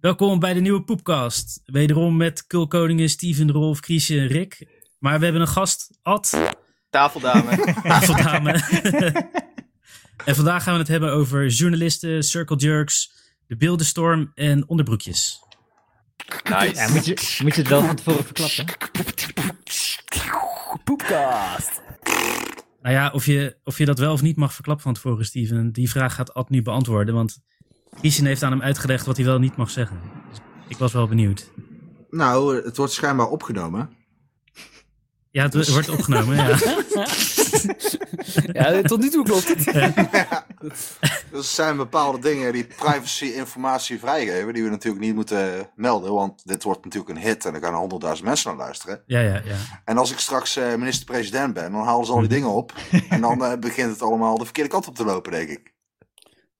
Welkom bij de nieuwe Poepcast. Wederom met Kulkoningen, Steven, Rolf, Kriesje en Rick. Maar we hebben een gast, Ad, Tafeldame. tafeldame. en vandaag gaan we het hebben over journalisten, circle jerks, de beeldenstorm en onderbroekjes. nice. Ja, moet, je, moet je het wel van tevoren verklappen? Poepcast. Nou ja, of je, of je dat wel of niet mag verklappen van tevoren, Steven. Die vraag gaat Ad nu beantwoorden, want Kriesje heeft aan hem uitgelegd wat hij wel en niet mag zeggen. Dus ik was wel benieuwd. Nou, het wordt schijnbaar opgenomen. Ja, het wordt opgenomen, ja. Ja, tot nu toe klopt het. Dus er zijn bepaalde dingen die privacy-informatie vrijgeven, die we natuurlijk niet moeten melden, want dit wordt natuurlijk een hit en er gaan honderdduizend mensen naar luisteren. Ja, ja, ja. En als ik straks eh, minister-president ben, dan halen ze al die dingen op en dan eh, begint het allemaal de verkeerde kant op te lopen, denk ik.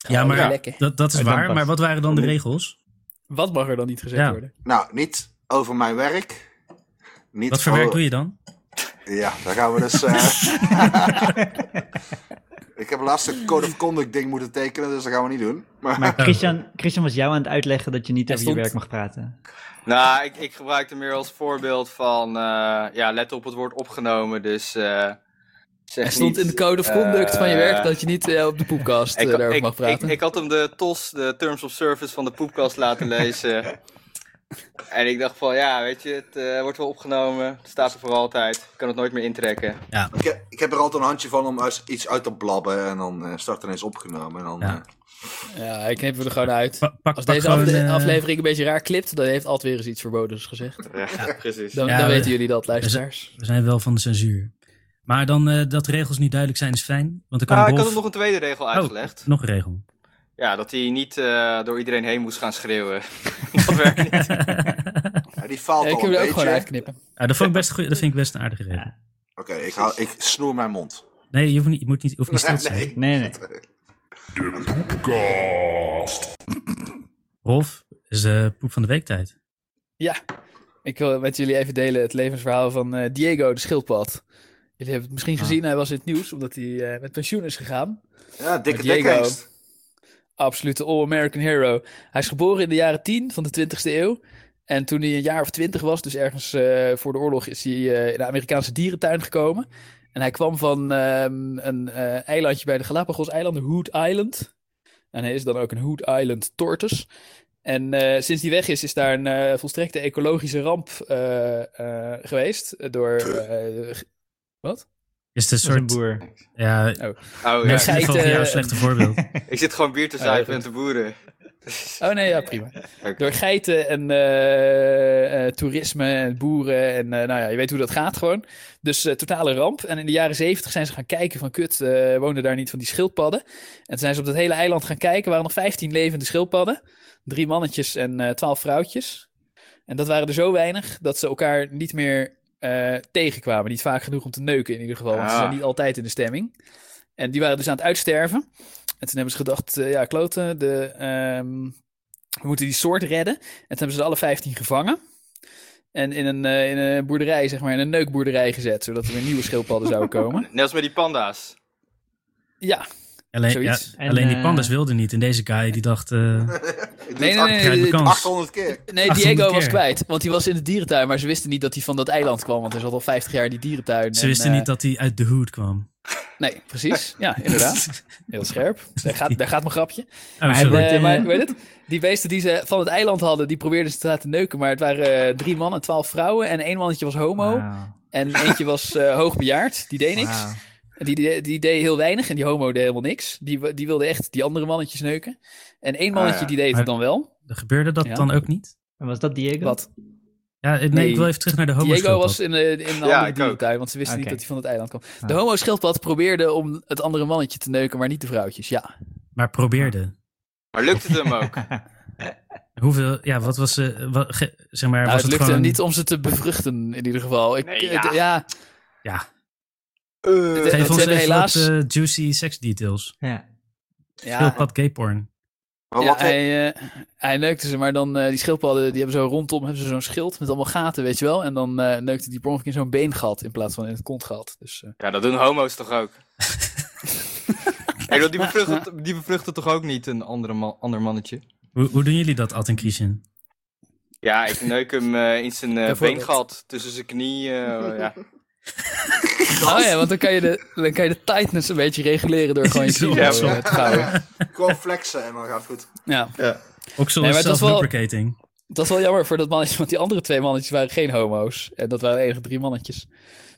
Ja, Ja, maar lekker. dat, dat is Ja, dan waar. pas. Maar wat waren dan de regels? Wat mag er dan niet gezegd Ja. worden? Nou, niet over mijn werk. Niet Wat voor werk doe je dan? Ja, daar gaan we dus... eh, ik heb laatst een code of conduct ding moeten tekenen, dus dat gaan we niet doen. Maar, Maar Christian, Christian was jou aan het uitleggen dat je niet Hij over je stond- werk mag praten. Nou, ik, ik gebruik hem meer als voorbeeld van, eh, ja, let op het woord opgenomen, dus eh zeg Er stond niet- in de code of conduct van je werk eh, dat je niet eh, op de poepkast ik, eh, daarover ik, mag praten. Ik, ik had hem de TOS, de Terms of Service van de poepkast laten lezen. en ik dacht van, ja, weet je, het eh, wordt wel opgenomen, het staat er voor altijd, ik kan het nooit meer intrekken. Ik heb, ik heb er altijd een handje van om uit- iets uit te blabben en dan eh, start er ineens opgenomen. En dan, Ja. eh, Ja, hij knipt er gewoon uit. Pa- pak, Als pak deze gewoon, afle- eh, aflevering een beetje raar klipt, dan heeft Alt weer eens iets verbodens gezegd. Ja, precies. Dan, Ja, dan we- weten jullie dat, luisteraars. We zijn wel van de censuur. Maar dan eh, dat de regels niet duidelijk zijn is fijn. Want dan kan Oh. Ah, ik Rolf- had hem nog een tweede regel uitgelegd. nog een regel. Ja, dat hij niet eh, door iedereen heen moest gaan schreeuwen. dat werkt niet. ja, die faalt Ja, al een ik kan er ook beetje. gewoon Oké, uitknippen. Ah, dat, vond ik best een goeie- dat vind ik best een aardige regel. ik, hou- ik snoer mijn mond. Nee, je hoeft niet, je moet niet, je hoeft niet stil te zijn. Nee. Nee, nee. Rolf, is de poep van de week tijd. Ik wil met jullie even delen het levensverhaal van eh, Diego de Schildpad. Jullie hebben het misschien Ah. gezien, hij was in het nieuws omdat hij eh, met pensioen is gegaan. Ja, dikke Maar Diego- dekkeest. absolute all-American hero. Hij is geboren in de jaren 10 van de 20e eeuw. En toen hij een jaar of twintig was, dus ergens eh, voor de oorlog, is hij eh, in de Amerikaanse dierentuin gekomen. En hij kwam van ehm, een eh, eilandje bij de Galapagos-eilanden, Hood Island. En hij is dan ook een Hood Island tortoise. En eh, sinds hij weg is, is daar een eh, volstrekte ecologische ramp eh, eh, geweest. eh, Door. eh, g- wat? Is het een Dat is een soort... boer. Ja, Oh ja, mensen die Geiten, volgen jou een eh, slechte voorbeeld. ik zit gewoon bier te Ja, zuipen goed. en te boeren. Dus- Oh nee, ja, prima. Oké. Door geiten en eh, eh, toerisme en boeren en eh, nou ja, je weet hoe dat gaat gewoon. Dus eh, totale ramp. En in de jaren zeventig zijn ze gaan kijken van kut, eh wonen daar niet van die schildpadden. En toen zijn ze op dat hele eiland gaan kijken, waren nog 15 levende schildpadden. Drie mannetjes en eh, twaalf vrouwtjes. En dat waren er zo weinig dat ze elkaar niet meer eh, tegenkwamen. Niet vaak genoeg om te neuken in ieder geval, want ze Ah. zijn niet altijd in de stemming. En die waren dus aan het uitsterven. En toen hebben ze gedacht, eh, ja kloten, de... ehm, we moeten die soort redden. En toen hebben ze ze alle 15 gevangen. En in een, eh, in een boerderij, zeg maar, in een neukboerderij gezet. Zodat er weer nieuwe schildpadden zouden komen. Net als met die panda's. Ja. Alleen, ja, Zoiets. alleen die En, pandas eh, wilden niet. En deze guy die dacht... eh Ik doe Nee, het nee, nee. 800 krijg de nee, kans. 800 keer. Nee, 800 Diego was keer. kwijt. Want hij was in de dierentuin. Maar ze wisten niet dat hij van dat eiland kwam. Want hij zat al 50 jaar in die dierentuin. ze en, wisten eh, niet dat hij uit de hoed kwam. Oh, Nee, precies. Ja, inderdaad. Heel scherp. Daar gaat, daar gaat mijn grapje. Oh, hij sorry. wordt- Eh, eh, maar weet het? Die beesten die ze van het eiland hadden, die probeerden ze te laten neuken. Maar het waren eh, drie mannen, twaalf vrouwen. En één mannetje was homo. Wauw. En eentje was eh, hoogbejaard. Die deed niks. Wauw. Die, die, die deed heel weinig en die homo deed helemaal niks. Die, die wilde echt die andere mannetjes neuken. En één mannetje ja. die deed Maar- het dan wel. Gebeurde dat Ja. dan ook niet? En was dat Diego? Wat? Ja, eh, nee, Nee. ik wil even terug naar de homo Diego was in, eh, in een Ja, ik andere ook. dierentuin, want ze wisten Oké. niet dat hij van het eiland kwam. De Ah. homo schildpad probeerde om het andere mannetje te neuken, maar niet de vrouwtjes. Ja. Maar probeerde. Maar lukt het hem ook? Hoeveel, ja, wat was, eh wat, ge- zeg maar, Nou, was het lukte gewoon... hem niet om ze te bevruchten, in ieder geval. Ik, Nee, ja. ja. ja, Eh, Het- Geef het ons even hebben helaas- wat eh, juicy sex details. Ja. ja. Schildpad gay porn. Maar Ja, wat, hij, eh, hij neukte ze, maar dan eh, die schildpadden, die hebben zo rondom hebben ze zo'n schild met allemaal gaten, weet je wel. En dan eh, neukte die per ongeluk in zo'n beengat in plaats van in het kontgat. Dus eh, Ja, dat doen homo's toch ook? Hey, dat- die, bevruchten, die bevruchten toch ook niet een andere man, ander mannetje? Hoe, hoe doen jullie dat, Ad en Christian? Ja, ik neuk hem eh, in zijn eh, Bijvoorbeeld. beengat, tussen zijn knie. eh, ja. Oh ja, want dan kan, je de, dan kan je de tightness een beetje reguleren door gewoon je Zo, knie ja, zo te vouwen. Gewoon flexen en dan gaat het goed. Ja, Oksel Nee, is maar dat is wel- self-lubricating. dat is wel jammer voor dat mannetje, want die andere twee mannetjes waren geen homo's. En dat waren de enige drie mannetjes.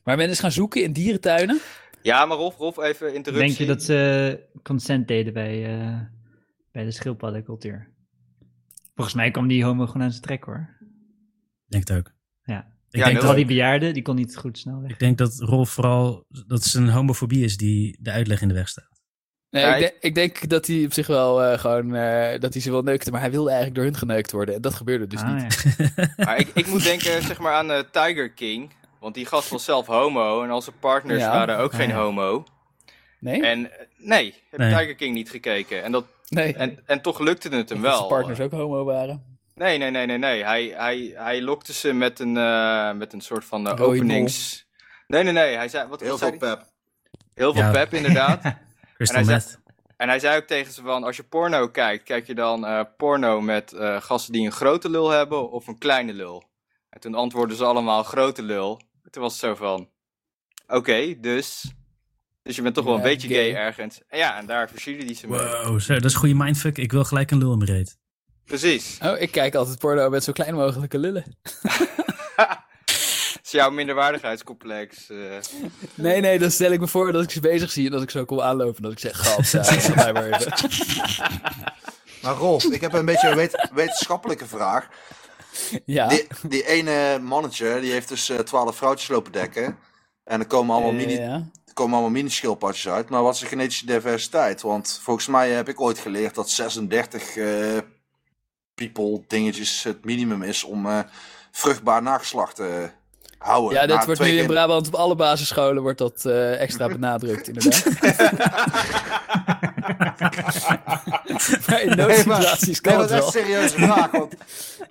Maar men is gaan zoeken in dierentuinen. ja, maar Rolf, Rolf, even interruptie. Denk je dat ze consent deden bij, eh, bij de schildpaddencultuur? Volgens mij kwam die homo gewoon aan zijn trek hoor. Denk het ook. Ja. Ik, Ja, denk dat- Terwijl dat, die bejaarde, die kon niet goed snel weg. ik denk dat Rolf vooral dat het een homofobie is die de uitleg in de weg staat. Nee, Ja, ik, denk- ik denk dat hij op zich wel eh, gewoon, eh, dat hij ze wil neukte. Maar hij wilde eigenlijk door hun geneukt worden. En dat gebeurde dus niet. Ah, ja. Maar ik, ik moet denken zeg maar, aan eh, Tiger King. Want die gast was zelf homo en al zijn partners Ja. waren ook geen Ah, ja. homo. Nee? En eh, nee, heb Nee. Tiger King niet gekeken. En, dat, nee. en, en toch lukte het hem Dat wel. eh. zijn partners ook homo waren. Nee, nee, nee, nee, nee. Hij, hij, hij lokte ze met een, eh, met een soort van eh, Rooibol. openings. Nee, nee, nee. Hij zei, wat, Heel wat zei veel hij? pep. Heel veel Ja. pep, inderdaad. Crystal hij meth. en hij zei ook tegen ze van, als je porno kijkt, kijk je dan eh, porno met eh, gasten die een grote lul hebben of een kleine lul? En toen antwoordden ze allemaal grote lul. En Toen was het zo van, oké, dus, dus je bent toch wel een Ja, beetje gay. gay ergens. En ja, en daar versierde hij ze mee. Wow, zo, dat is goede mindfuck. Ik wil gelijk een lul in mijn reet. Precies. Oh, ik kijk altijd porno met zo klein mogelijke lullen. Dat is jouw minderwaardigheidscomplex. eh. Dus Nee, nee, dan stel ik me voor dat ik ze bezig zie en dat ik zo kom aanlopen. En dat ik zeg, gat, ja, dat is mij maar even." Maar Rolf, ik heb een beetje een wet- wetenschappelijke vraag. Ja, Die, die ene mannetje, die heeft dus twaalf vrouwtjes lopen dekken. En er komen allemaal, mini, ja. er komen allemaal mini-schildpadjes uit. Maar wat is de genetische diversiteit? Want volgens mij heb ik ooit geleerd dat 36 eh, people dingetjes het minimum is om eh, vruchtbaar nageslacht te houden. Ja, Na dit wordt nu twee in kinderen. Brabant op alle basisscholen wordt dat eh, extra benadrukt, inderdaad. maar in Nee, maar- noodsituaties kan nee, maar het dat is wel. een serieuze vraag. Want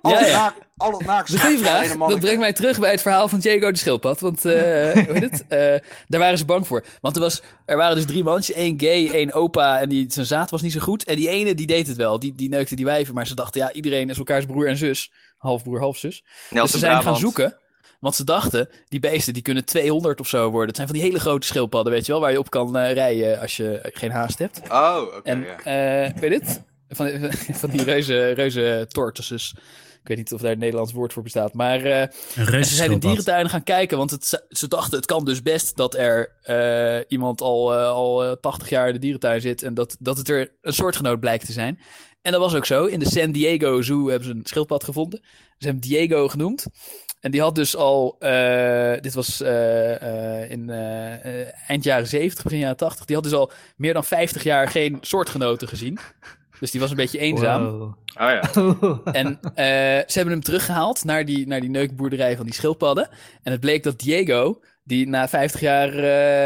al het ja. naak- al het De nageslacht van vraag, ene dat mannetje- brengt mij terug bij het verhaal van Diego de Schildpad. Want eh, hoe heet het? Eh, daar waren ze bang voor. Want er, was, er waren dus drie mannetjes. één gay, één opa en die, zijn zaad was niet zo goed. En die ene die deed het wel. Die, die neukte die wijven. Maar ze dachten, ja, iedereen is elkaars broer en zus. Halfbroer, halfzus. Nelson dus ze zijn Brabant. gaan zoeken. Want ze dachten, die beesten die kunnen 200 of zo worden. Het zijn van die hele grote schildpadden, weet je wel, waar je op kan eh, rijden als je geen haast hebt. Oh, oké. En ja. eh, weet je dit? Van, van die reuze, reuze tortoises. Ik weet niet of daar een Nederlands woord voor bestaat. Maar eh, Een en ze zijn in reuzenschildpad. dierentuinen gaan kijken, want het, ze dachten het kan dus best dat er eh, iemand al, eh, al eh, 80 jaar in de dierentuin zit en dat, dat het er een soortgenoot blijkt te zijn. En dat was ook zo. In de San Diego Zoo hebben ze een schildpad gevonden. Ze hebben hem Diego genoemd. En die had dus al, eh, dit was eh, eh, in eh, eh, eind jaren 70, begin jaren 80, die had dus al meer dan 50 jaar geen soortgenoten gezien. Dus die was een beetje eenzaam. Wow. Oh ja. En eh, ze hebben hem teruggehaald naar die, naar die neukboerderij van die schildpadden. En het bleek dat Diego, die na 50 jaar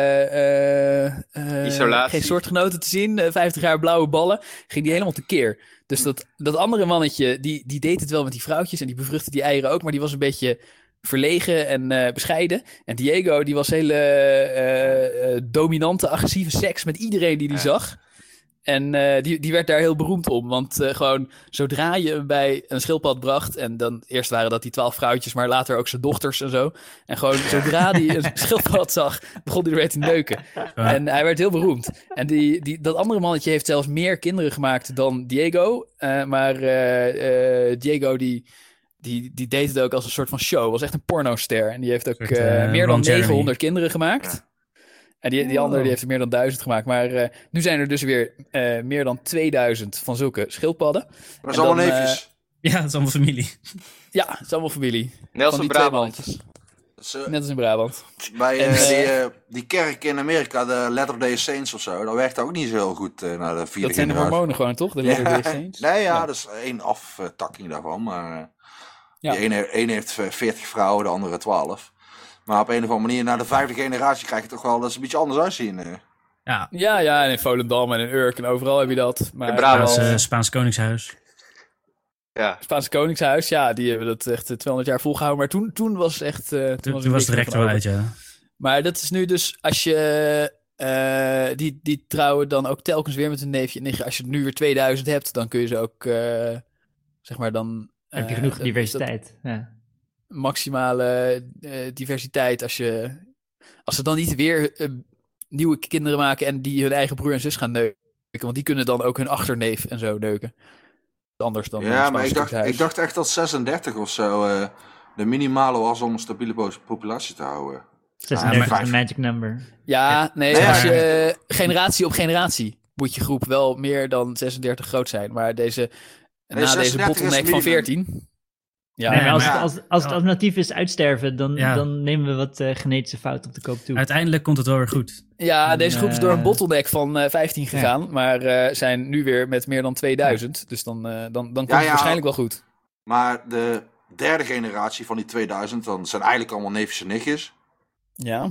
eh, eh, eh, Isolatie. geen soortgenoten te zien, eh, 50 jaar blauwe ballen, ging die helemaal tekeer. Dus dat, dat andere mannetje, die, die deed het wel met die vrouwtjes en die bevruchtte die eieren ook, maar die was een beetje verlegen en eh, bescheiden. En Diego, die was hele eh, eh, dominante, agressieve seks met iedereen die die Ja. zag. En eh, die, die werd daar heel beroemd om. Want eh, gewoon zodra je hem bij een schildpad bracht. En dan eerst waren dat die twaalf vrouwtjes, maar later ook zijn dochters en zo. En gewoon zodra hij een schildpad zag, begon hij er weer te neuken. En hij werd heel beroemd. En die, die, dat andere mannetje heeft zelfs meer kinderen gemaakt dan Diego. Eh, maar eh, eh, Diego die, die, die deed het ook als een soort van show. Was echt een pornoster. En die heeft ook Een soort, eh, eh, meer dan Ron Jeremy. Oh. 900 kinderen gemaakt. En die, die andere die heeft er meer dan duizend gemaakt. Maar eh, nu zijn er dus weer eh, meer dan 2000 van zulke schildpadden. Dat is En allemaal dan, eh, neefjes. Ja, het is allemaal familie. Ja, het is allemaal familie. Van Nelson die twee Brabant. mannetjes. Dat is, eh, Net als in Brabant. Bij En, eh, eh, die, eh, die kerk in Amerika, de Letter Day Saints of zo, dat werkt ook niet zo heel goed eh naar de vierde Dat zijn de generatie. hormonen gewoon, toch? De Ja. Latter-day Saints. Nee, ja, Dus, Ja. dat is één aftakking daarvan. Maar eh, Ja. die ene, ene heeft eh, 40 vrouwen, de andere 12. Maar op een of andere manier, na de vijfde generatie krijg je toch wel dat ze een beetje anders uitzien. eh. Ja, Ja, ja, en in Volendam en in Urk en overal heb je dat. Maar In Brabant. Spaans, Spaans, eh, Spaans Koningshuis. Ja. Spaanse Koningshuis, ja, die hebben dat echt eh, 200 jaar volgehouden. Maar toen, toen was het echt... eh, toen, Toen, het was de niks rector wel meer van uit, ja. over. Maar dat is nu dus, als je... eh, die, die trouwen dan ook telkens weer met een neefje en nichtje. Als je nu weer 2000 hebt, dan kun je ze ook... eh, zeg maar dan... eh, heb je Eh, genoeg dat- diversiteit. Ja. dat maximale eh, diversiteit als je... Als ze dan niet weer eh, nieuwe kinderen maken en die hun eigen broer en zus gaan neuken. Want die kunnen dan ook hun achterneef en zo neuken. Anders dan ja, ons maar ik dacht, huis. ik dacht echt dat 36 of zo eh, de minimale was om een stabiele po- populatie te houden. 36 maar- is een magic number. Ja, nee, Nee, als maar- je eh, generatie op generatie moet je groep wel meer dan 36 groot zijn. Maar deze, Nee, na deze 36 is bottleneck van minimum. 14. Ja, Nee, maar als, het, maar ja. als, als het Ja. alternatief is uitsterven, dan, Ja. dan nemen we wat eh, genetische fouten op de koop toe. Uiteindelijk komt het wel weer goed. ja, deze groep is door een Eh. bottleneck van eh, 15 gegaan. Maar eh, zijn nu weer met meer dan 2000. Dus dan, eh, dan, dan komt ja. het waarschijnlijk wel goed. Maar de derde generatie van die 2000, dan zijn eigenlijk allemaal neefjes en nichtjes. Ja.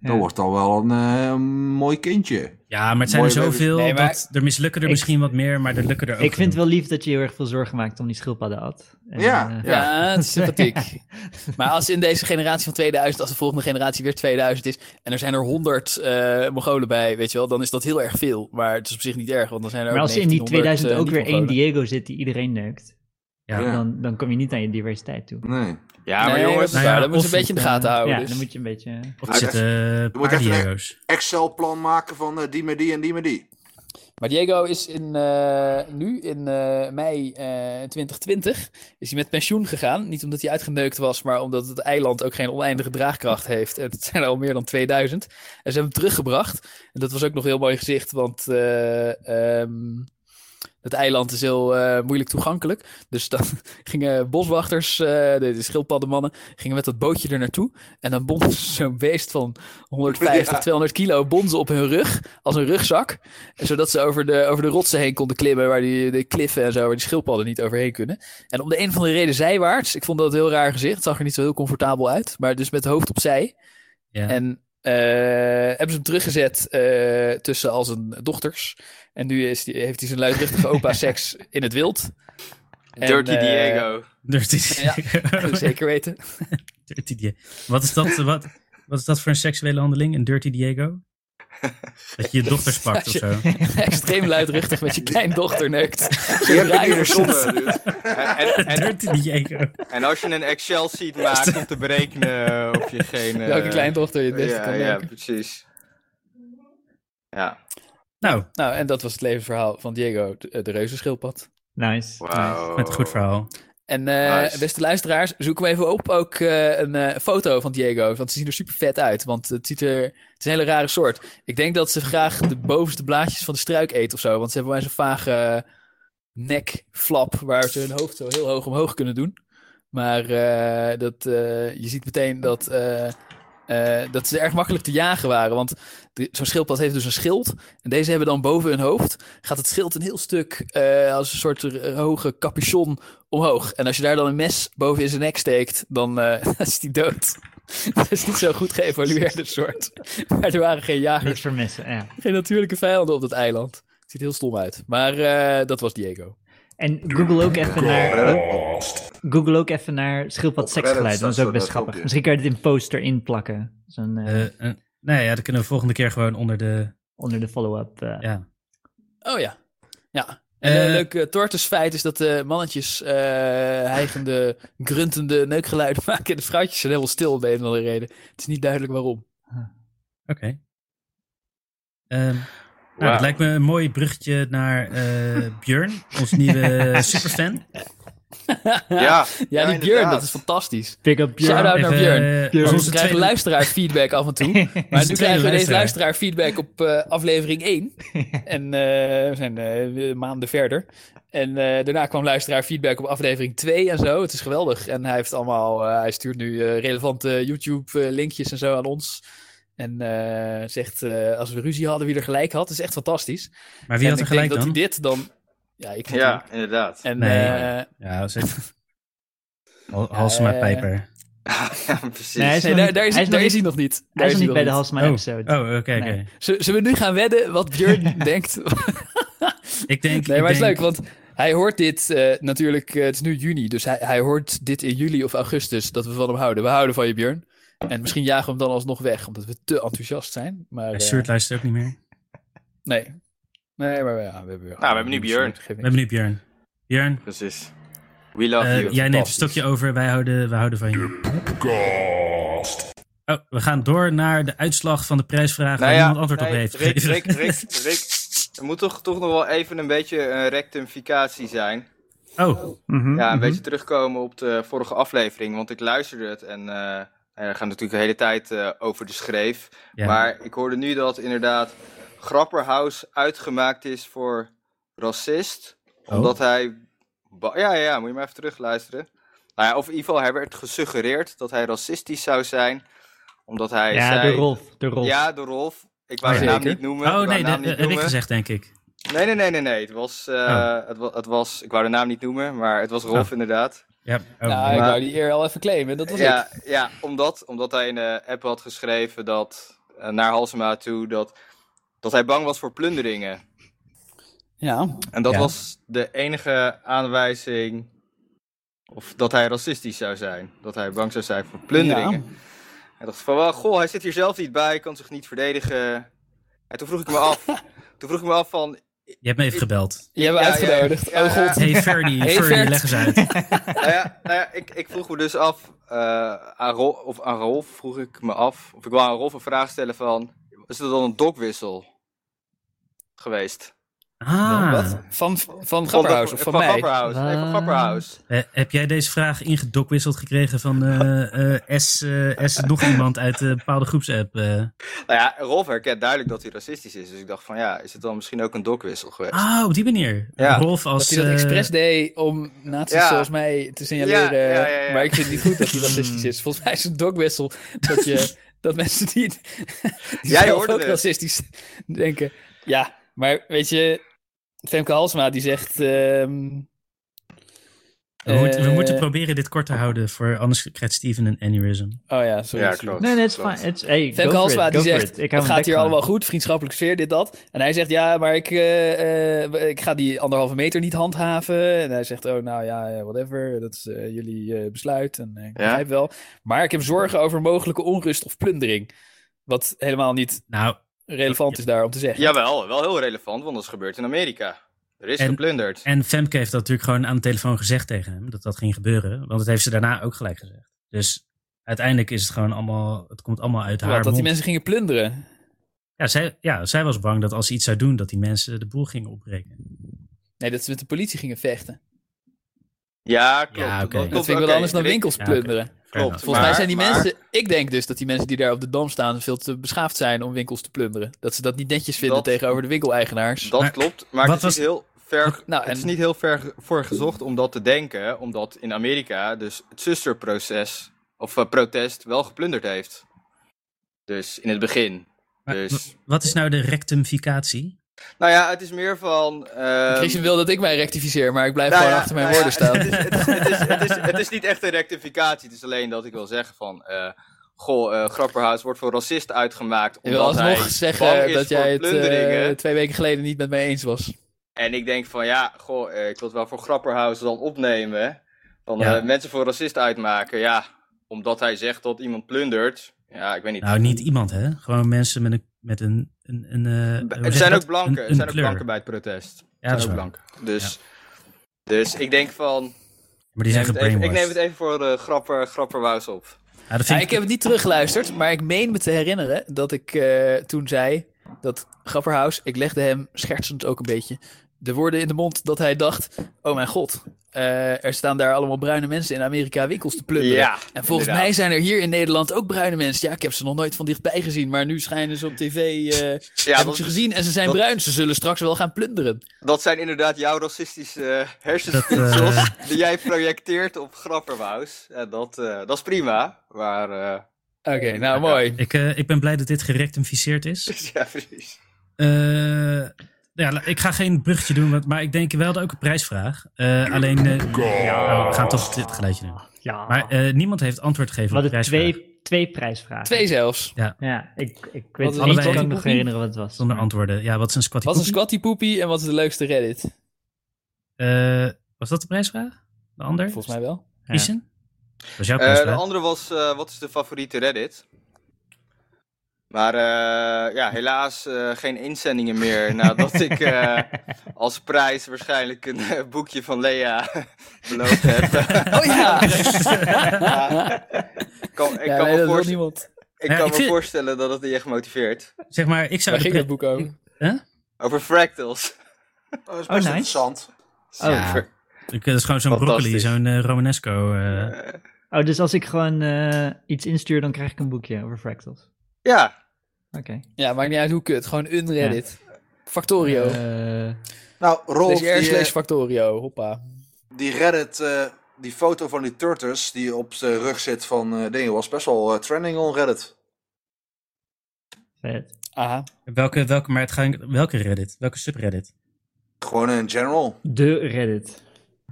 Ja. Dat wordt dan wel een eh, mooi kindje. Ja, maar het zijn Mooi er baby. zoveel Nee, maar- dat er mislukken er Ik- misschien wat meer, maar er lukken er ook Ik vind het genoeg. wel lief dat je heel erg veel zorgen maakt om die schildpadden at. En, Ja, eh, Ja, het is sympathiek. maar als in deze generatie van 2000, als de volgende generatie weer 2000 is... en er zijn er 100 eh, Mongolen bij, weet je wel... dan is dat heel erg veel. Maar het is op zich niet erg, want dan zijn er Maar ook als er in die 1900, 2000 eh, ook weer één niet-Mongolen. Diego zit die iedereen neukt, Ja. Ja. dan, dan kom je niet aan je diversiteit toe. Nee. Ja, nee, maar jongens, dat, is Nou waar. ja, dat moet je een of- beetje in de gaten Eh, houden. Ja, dus. dan moet je een beetje... Of er zitten moet echt- paardiero's. Excel-plan maken van eh, die met die en die met die. Maar Diego is in, eh, nu, in eh, mei eh, 2020, is hij met pensioen gegaan. Niet omdat hij uitgeneukt was, maar omdat het eiland ook geen oneindige draagkracht heeft. En het zijn er al meer dan 2000. En ze hebben hem teruggebracht. En dat was ook nog een heel mooi gezicht, want eh, ehm, het eiland is heel eh, moeilijk toegankelijk. Dus dan gingen boswachters, eh, de, de schildpaddenmannen, gingen met dat bootje er naartoe. En dan bonden ze zo'n beest van 150, Ja. 200 kilo bonzen op hun rug, als een rugzak. Zodat ze over de, over de rotsen heen konden klimmen, waar die, de kliffen en zo, waar die schildpadden niet overheen kunnen. En om de een of andere reden zijwaarts. Ik vond dat een heel raar gezicht. Het zag er niet zo heel comfortabel uit. Maar dus met het hoofd opzij. Ja. En eh, hebben ze hem teruggezet eh, tussen als een dochters. En nu is die, heeft hij zijn luidruchtige opa seks in het wild. En, Dirty eh, Diego. Dirty Ja, Diego. Zeker weten. Dirty Diego. Wat is dat, wat, wat is dat voor een seksuele handeling? Een Dirty Diego? Dat je je dochters pakt of zo. Extreem luidruchtig met je kleindochter neukt. Die heb ik niet draaien er verzonnen, dude. En, en, en, Dirty Diego. en als je een Excel sheet maakt om te berekenen of je geen. eh, Welke kleindochter je het beste Ja, kan ja, neuken. precies. Ja, Nou, Nou, en dat was het levensverhaal van Diego, de, de reuzenschildpad. Nice. wauw. met een Oh. goed verhaal. En eh, Nice. beste luisteraars, zoek hem even op. Ook eh, een eh, foto van Diego. Want ze zien er super vet uit. Want het ziet er. Het is een hele rare soort. Ik denk dat ze graag de bovenste blaadjes van de struik eet of zo. Want ze hebben maar zo'n vage eh, nekflap. Waar ze hun hoofd zo heel hoog omhoog kunnen doen. Maar eh, dat, eh, je ziet meteen dat. eh, eh, dat ze erg makkelijk te jagen waren. Want de- zo'n schildpad heeft dus een schild. En deze hebben dan boven hun hoofd. Gaat het schild een heel stuk eh, als een soort r- hoge capuchon omhoog. En als je daar dan een mes boven in zijn nek steekt, dan eh, is die dood. Dat is niet zo'n goed geëvalueerde soort. Maar er waren geen Niks jagers, vermissen, ja. geen natuurlijke vijanden op dat eiland. Het ziet heel stom uit. Maar eh, dat was Diego. En Google ook even naar... Google ook even naar schildpad seksgeluid. staat Dat is ook zo'n best filmpje. grappig. Misschien kan je dit in poster inplakken. Zo'n, eh, Eh eh, nou ja, dat kunnen we volgende keer gewoon onder de... onder de follow-up. eh. Ja. Oh ja. Ja. En een Eh. leuk eh, tortusfeit is dat de mannetjes eh hijgende, gruntende neukgeluiden maken. En de vrouwtjes zijn helemaal stil om de een of andere reden. Het is niet duidelijk waarom. Oké. Ehm, nou, Wauw. dat lijkt me een mooi bruggetje naar eh Björn, ons nieuwe superfan. Ja, Ja, die Björn, inderdaad. dat is fantastisch. Pick up your... Shout-out naar Even, Björn. eh, Want onze we krijgen tweede- luisteraar feedback af en toe. Maar nu tweede krijgen we deze luisteraar. luisteraar feedback op eh, aflevering 1. En eh, we zijn eh, maanden verder. En eh, daarna kwam luisteraar feedback op aflevering 2 en zo. Het is geweldig. En hij heeft allemaal, eh, hij stuurt nu eh, relevante YouTube-linkjes en zo aan ons. En eh, zegt, eh, als we ruzie hadden, wie er gelijk had. Het is echt fantastisch. Maar wie en had er ik gelijk denk dan? dat hij dit dan... Ja, ik vond ja, inderdaad. En Nee. eh, Ja, zeker. Hal- Halsema Eh, Pijper. Ja, precies. Nee, hij is nee, nog daar, niet- daar is, hij is nog daar niet- is hij nog niet. Daar Hij is nog niet bij de nog Oh, Halsma oh oké, episode. oké. Nee. Z- Zullen we nu gaan wedden wat Björn denkt Ik denk... Nee, ik maar het is denk- leuk, want hij hoort dit eh, natuurlijk, eh, het is nu juni, dus hij, hij hoort dit in juli of augustus, dat we van hem houden. We houden van je, Björn. En misschien jagen we hem dan alsnog weg, omdat we te enthousiast zijn. Maar, Ja, eh, Sjoerd luistert ook niet meer. nee. Nee, maar ja, we hebben, we Nou, hebben nu Björn. We hebben nu Björn. Björn, Precies. We love Eh, jij you. neemt een Fantastisch. stokje over, wij houden, wij houden van je. Oh, we gaan door naar de uitslag van de prijsvraag waar niemand antwoord op Nou nee, heeft. Rick, gegeven. Rick, Rick, Rick. Er moet toch, toch nog wel even een beetje een rectificatie zijn. Oh, Mhm, Ja, een mhm. beetje terugkomen op de vorige aflevering. Want ik luisterde het en eh nou ja, we gaan natuurlijk de hele tijd eh, over de schreef. ja. Maar ik hoorde nu dat inderdaad Grapperhaus uitgemaakt is voor racist. Oh. Omdat hij... ba- Ja, ja, ja, moet je maar even terugluisteren. Nou ja, of in ieder geval, hij werd gesuggereerd dat hij racistisch zou zijn. Omdat hij Ja, zei... de Rolf. De Rolf. Ja, de Rolf. Ik wou Oh, zijn ja. naam niet noemen. oh ik wou nee, de naam dat niet heb ik noemen. gezegd, denk ik. Nee, nee, nee, nee, nee. Het was, eh, Oh. het, wa- het was, ik wou de naam niet noemen, maar het was Rolf Oh. inderdaad. Ja, oh, nou, ik maar- wou die eer al even claimen. Dat was Ja, ik. ja omdat, omdat hij in de app had geschreven dat, eh, naar Halsema toe, dat, dat hij bang was voor plunderingen. Ja. En dat Ja. was de enige aanwijzing of dat hij racistisch zou zijn. Dat hij bang zou zijn voor plunderingen. Hij dacht van, wel, goh, hij zit hier zelf niet bij, kan zich niet verdedigen. En toen vroeg ik me af, toen vroeg ik me af van, je hebt me even gebeld. Je hebt me Ja, uitgenodigd. ja, ja. oh god. Hey Ferdy, Hey, Ferdy, Vert. leg eens uit. nou ja, nou ja ik, ik vroeg me dus af, eh, aan Rolf, of aan Rolf vroeg ik me af, of ik wil aan Rolf een vraag stellen van, is dat dan een dokwissel geweest? Ah, Wat? Van, van Grapperhaus of van, mij? Grapperhaus, nee, van Ah. Wat? Grapperhaus. eh, heb jij deze vraag ingedokwisseld gekregen van eh, eh, S, eh, S nog iemand uit een bepaalde groepsapp? eh? Nou ja, Rolf herkent duidelijk dat hij racistisch is, dus ik dacht van, ja, is het dan misschien ook een dokwissel geweest? Ah, op die manier. Ja. Rolf als... Dat hij dat eh, expres deed om nazi's Ja. zoals mij te signaleren. Ja, ja, ja, ja. Maar ik vind het niet goed dat Hmm. hij racistisch is. Volgens mij is het een dokwissel dat, je, dat mensen die, die Jij zelf hoorde ook het. racistisch denken. Ja, maar weet je, Femke Halsma die zegt... ehm, we, moeten- we eh, moeten proberen dit kort te houden, voor anders krijgt Steven een aneurysm. Oh ja, sorry. Ja, sorry. klopt. Nee, nee, het is Klopt. fijn. Het is- Hey, go Femke for Halsma it, die go for zegt, it. Ik hou het mijn gaat bek hier gewoon. allemaal goed, vriendschappelijke sfeer, dit, dat. En hij zegt, ja, maar ik, eh, eh, ik ga die anderhalve meter niet handhaven. En hij zegt, oh, nou ja, eh, whatever, dat is eh, jullie eh, besluit. En eh, ik Ja. begrijp wel. Maar ik heb zorgen over mogelijke onrust of plundering. Wat helemaal niet Nou, relevant is daar om te zeggen. Jawel, wel heel relevant, want dat is gebeurd in Amerika. Er is En- geplunderd. en Femke heeft dat natuurlijk gewoon aan de telefoon gezegd tegen hem, dat dat ging gebeuren. Want dat heeft ze daarna ook gelijk gezegd. Dus uiteindelijk is het gewoon allemaal, het komt allemaal uit Wat, haar dat die mond. mensen gingen plunderen. Ja, zij, ja, zij was bang dat als ze iets zou doen, dat die mensen de boel gingen opbreken. Nee, dat ze met de politie gingen vechten. Ja, klopt. Ja, oké. Dat vind ik wel oké, anders dan Rick, winkels Ja, oké. plunderen. Klopt. Volgens mij Maar- zijn die maar- mensen... Ik denk dus dat die mensen die daar op de Dam staan... veel te beschaafd zijn om winkels te plunderen. Dat ze dat niet netjes vinden Dat- tegenover de winkeleigenaars. Dat Maar- klopt, maar wat het is, niet heel ver, Nou, het is en- niet heel ver ge- voor gezocht om dat te denken, omdat in Amerika dus het zusterproces of eh, protest wel geplunderd heeft. Dus in het begin. Maar Dus, w- Wat is nou de rectificatie? nou ja, het is meer van. ehm, Christian wil dat ik mij rectificeer, maar ik blijf nou gewoon ja, achter mijn nou ja, woorden staan. Het is, het, is, het, is, het, is, het is niet echt een rectificatie, het is alleen dat ik wil zeggen van. eh, Goh, eh, Grapperhaus wordt voor racist uitgemaakt. Ik wil Omdat hij alsnog bang zeggen is dat voor jij het eh, plunderingen. twee weken geleden niet met mij eens was. En ik denk van ja, goh, eh, ik wil het wel voor Grapperhaus dan opnemen. Van Ja. eh, mensen voor racist uitmaken. Ja, omdat hij zegt dat iemand plundert. Ja, ik weet niet. Nou, niet iemand, hè? Gewoon mensen met een... Met een, een, een eh, hoe B- zeg het je zijn dat? ook blanken. Een- het zijn een ook kleur. blanken bij het protest. Ja, het dat is zijn ook waar. blanken. Dus, dus ik denk van. Maar die Ik zijn neem, het even, ik gebrainwashed. neem het even voor eh, grapper, Grapperhaus op. Ja, dat Ja, vind ik heb het niet teruggeluisterd, maar ik meen me te herinneren dat ik eh, toen zei dat Grapperhaus, ik legde hem schertsend ook een beetje de woorden in de mond dat hij dacht: Oh mijn god, eh, er staan daar allemaal bruine mensen in Amerika winkels te plunderen. Ja, en volgens inderdaad. mij zijn er hier in Nederland ook bruine mensen. Ja, ik heb ze nog nooit van dichtbij gezien, maar nu schijnen ze op tv. eh Ja, heb ik ze dat, gezien en ze zijn dat- bruin. Ze zullen straks wel gaan plunderen. dat zijn inderdaad jouw racistische eh, hersenspinsels. Dat, die jij projecteert op Grapperhaus. En dat, eh, dat is prima. Maar. eh, Oké, nou mooi. Ik, eh, ik ben blij dat dit gerectificeerd is. ja, precies. Eh, ja, la- ik ga geen bruggetje doen, want- maar ik denk wel dat ook een prijsvraag. Eh, alleen. eh, oh, we gaan toch dit geluidje doen. Ja. Maar eh, niemand heeft antwoord gegeven Wat op de een prijsvraag. twee, twee prijsvragen. Twee zelfs. Ja, ik, ik weet het Wat is niet. allebei- Ik kan me nog herinneren wat het was. Zonder maar- antwoorden. Ja, wat is een squatty Wat is een poepie? squatty poepie en wat is de leukste Reddit? Eh, was dat de prijsvraag? De ander? Volgens mij wel. Ja. Isen? Was jouw Eh, de prijsvraag? andere was, eh, wat is de favoriete Reddit? Maar eh, ja, helaas eh, geen inzendingen meer. Nadat ik eh, als prijs waarschijnlijk een eh, boekje van Lea beloofd heb. Oh ja! Ja, ik kan, ik ja kan nee, me, dat wil voorst- niemand. ik Ja, kan ik me vind- voorstellen dat het je echt motiveert. Zeg maar, ik zou Daar de ging het pre- boek over. Over fractals. Dat is best Oh, nice. interessant. Oh. Super. Ik- eh, Dat is gewoon zo'n broccoli, Fantastisch. zo'n eh, Romanesco. eh. Eh, Oh, dus als ik gewoon eh, iets instuur, dan krijg ik een boekje over fractals. ja, Oké. Ja, maakt niet uit hoe kut. Gewoon een Reddit. Factorio. Eh, Nou, Rolf, slash die, r slash eh, Factorio. Hoppa. die Reddit, eh, die foto van die Turtles die op de rug zit van eh dingen was best wel eh, trending on Reddit. vet. Aha. welke, welke, maar het gaat, welke Reddit? Welke subreddit? Gewoon in general. De Reddit.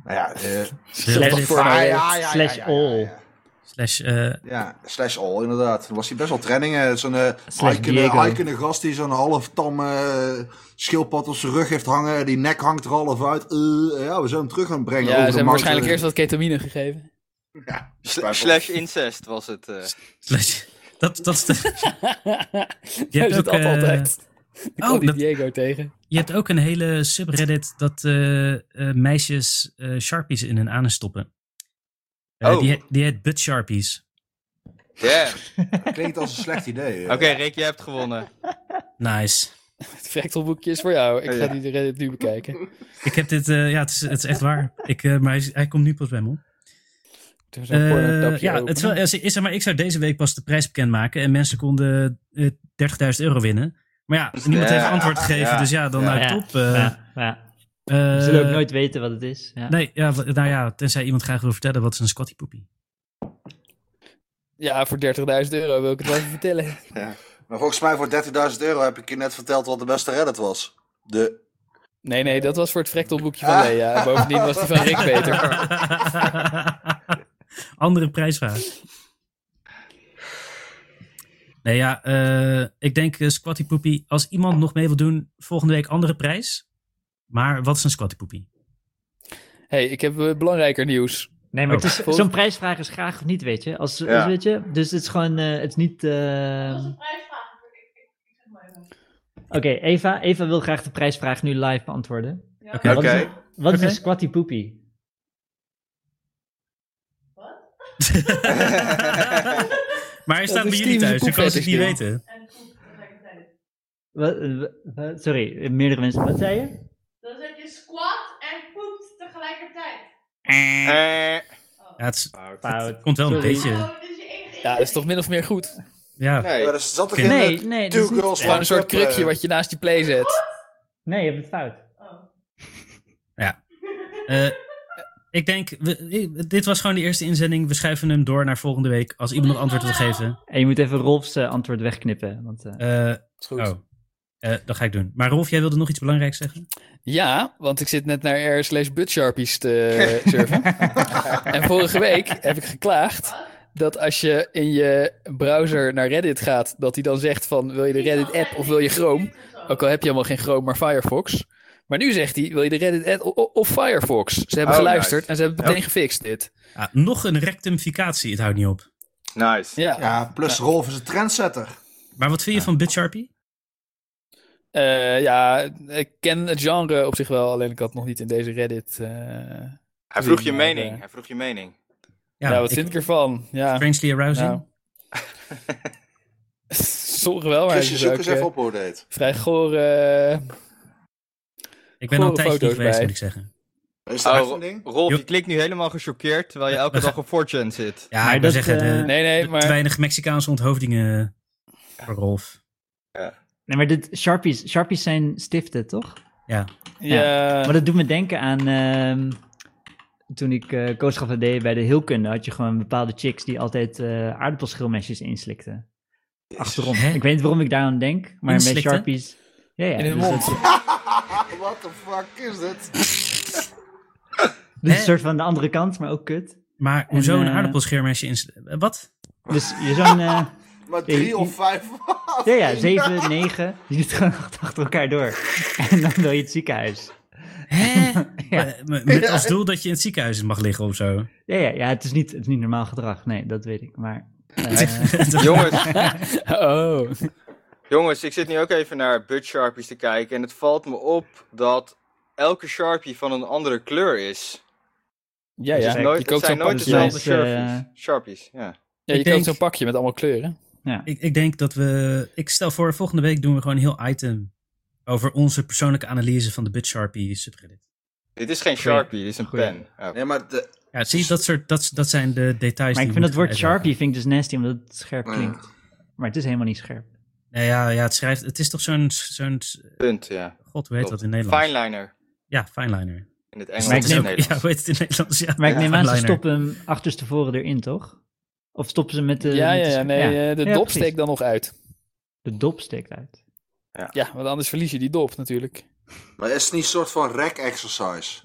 Nou ja, eh, Reddit. Porno ah, Reddit. Slash all. Ja, Slash, eh, Ja, slash all inderdaad. Toen was hij best wel trending. eh, Zo'n Slash Diego. eikende gast die zo'n half tam eh, schildpad op zijn rug heeft hangen. Die nek hangt er half uit. Eh, ja, we zijn hem terug gaan brengen. Ja, ze over de hebben markt. waarschijnlijk eerst wat ketamine gegeven. Ja, sl- slash incest was het. eh. slash, dat, dat is de- Je hebt ook, het eh, altijd. Ik oh, kwam die dat- Diego tegen. je hebt ook een hele subreddit dat eh, eh, meisjes eh, sharpies in hun anus stoppen. Eh, Oh. die, he- die heet butt sharpies. Yeah. Klinkt als een slecht idee. eh. Oké, Rick, je hebt gewonnen. Nice. Het fractalboekje is voor jou. Ik Oh, ga ja. die Reddit nu bekijken. Ik heb dit, eh, ja, het is, het is echt waar. Ik, eh, maar hij, hij komt nu pas bij me op. Toen zo'n Eh, pornotapje ja, het is wel, openen. is, is er maar, ik zou deze week pas de prijs bekendmaken en mensen konden eh, 30.000 euro winnen. Maar ja, niemand Ja, heeft antwoord gegeven, ja, dus ja, dan ja. nou Ja, top. eh. ja, ja. Eh, We zullen ook nooit weten wat het is. Ja. Nee, ja, w- nou ja, tenzij iemand graag wil vertellen wat is een squatty poepie. Ja, voor 30.000 euro wil ik het wel even vertellen. Maar volgens mij voor 30.000 euro heb ik je net verteld wat de beste Reddit was. De... Nee, nee, dat was voor het fractalboekje van Lea. En Bovendien was die van Rick beter. Andere prijsvraag. Nee, ja, eh, ik denk eh, squatty poepie. Als iemand nog mee wil doen, volgende week andere prijs. Maar wat is een squatty poepie? hey, ik heb eh, belangrijker nieuws. Nee, maar Oh. het is- Volgens- zo'n prijsvraag is graag of niet, weet je. Als, als Ja. weet je? Dus het is gewoon, eh, het is niet... eh, Dat was een prijsvraag. Ik- ik- ik zeg maar even. Oké, Eva, Eva wil graag de prijsvraag nu live beantwoorden. Ja. Oké. Wat is, Oké. wat is Oké. een squatty poepie? Wat? maar hij staat is bij jullie typisch thuis, een ik kan het niet poepfetish weten. En poep tegelijkertijd. Wat, eh, wat- sorry, eh, meerdere mensen. Wat zei je? Dan zet je squat en poept tegelijkertijd. Eh, Ja, het, is- Fout. het komt wel een Sorry. beetje. Oh, dit is je enige Ja, dat is toch min of meer goed? Gewoon Ja, nee. Ja, er zat toch Nee, in Nee, eh, nee. dat Two is niet- Girls Een One soort Cup, eh, krukje wat je naast je play zet. Nee, je hebt het fout. Oh. eh, ik denk, we- dit was gewoon de eerste inzending. We schuiven hem door naar volgende week als iemand nog antwoord wil geven. En je moet even Rolf's eh, antwoord wegknippen. Want, eh, Eh, Is goed. Oh. Eh, dat ga ik doen. Maar Rolf, jij wilde nog iets belangrijks zeggen? Ja, want ik zit net naar r slash butsharpies te eh, surfen. en vorige week heb ik geklaagd dat als je in je browser naar Reddit gaat, dat hij dan zegt van wil je de Reddit app of wil je Chrome? Ook al heb je helemaal geen Chrome, maar Firefox. Maar nu zegt hij wil je de Reddit app o- o- of Firefox? Ze hebben Oh, geluisterd nice. en ze hebben het meteen gefixt dit. Ah, nog een rectificatie, het houdt niet op. Nice. Ja. Ja, plus Rolf is een trendsetter. Maar wat Ah. vind je van BitSharpie? Eh, ja, ik ken het genre op zich wel, alleen ik had nog niet in deze Reddit. eh, Hij vroeg je Ja, mening. ja. Hij vroeg je mening. ja, Nou, nou, wat vind ik ervan? Ja. Strangely arousing? Nou. Sommige wel, maar Chrisje, ze zoek ook eens eh, even op hoe het heet. vrij gore... eh, ik ben al gore een tijdje niet foto's geweest, bij. moet ik zeggen. Is dat echt Oh, een ding? Rolf, Jo- je klinkt nu helemaal gechoqueerd terwijl je elke dag op 4chan zit. Ja, Maar ik wil dat, zeggen, de- eh, Nee, nee, de- maar... te weinig Mexicaanse onthoofdingen voor Rolf. Nee, maar dit, Sharpies, Sharpies zijn stiften, toch? Ja. Ja, Maar dat doet me denken aan ehm, toen ik eh kooschap deed bij de heelkunde, had je gewoon bepaalde chicks die altijd eh aardappelschilmesjes inslikten. Achterom. Hè? Ik weet niet waarom ik daar aan denk, maar met Inslikten? Sharpies. Ja, ja. in hun dus mond. dat- What the fuck is dit? dus Hè? een soort van de andere kant, maar ook kut. Maar hoezo En, een eh, aardappelschermesje in... eh, Wat? Dus je zo'n, eh, Maar Nee, drie of je- vijf. ja, ja, zeven, negen, je doet gewoon achter achter elkaar door. En dan wil je het ziekenhuis. Hè? Ja. Eh, Met met als doel dat je in het ziekenhuis mag liggen of zo. Ja, ja, ja het, is niet, het is niet normaal gedrag, nee, dat weet ik. Maar eh, Jongens, Oh. Jongens, ik zit nu ook even naar Bud Sharpies te kijken. En het valt me op dat elke Sharpie van een andere kleur is. Ja, Dus ja. het is nooit, je het koopt zo'n zijn nooit pakje, pakjes dezelfde als, eh, Sharpies. Sharpies, ja. ja, je Ik koopt denk- zo'n pakje met allemaal kleuren. Ik, ik denk dat we. Ik stel voor, volgende week doen we gewoon een heel item over onze persoonlijke analyse van de Bud Sharpie subreddit. Dit is geen Goeie. Sharpie, dit is een Goeie. pen. Oh. Nee, maar de, Ja, zie je, dat, soort, dat, dat zijn de details. Maar ik die vind we dat woord moeten uitleggen. Sharpie vind ik dus nasty, omdat het scherp Ja. klinkt. Maar het is helemaal niet scherp. Nee, ja, ja, het schrijft. Het is toch zo'n. zo'n Punt, ja. God, hoe heet Klopt. dat in Nederland? Fineliner. Ja, fineliner. In Dus het Engels en Maar dat het ik is ook- Nederlands. Ja, hoe heet het in Nederlands? Ja, Maar ik neem aan, ze fineliner. stoppen hem achterstevoren erin, toch? Of stoppen ze met de... ja, met ja, de ja, scherp- nee, eh, de Ja, dop precies. steekt dan nog uit. De dop steekt uit. Ja, want anders verlies je die dop natuurlijk. maar is het niet een soort van rack exercise?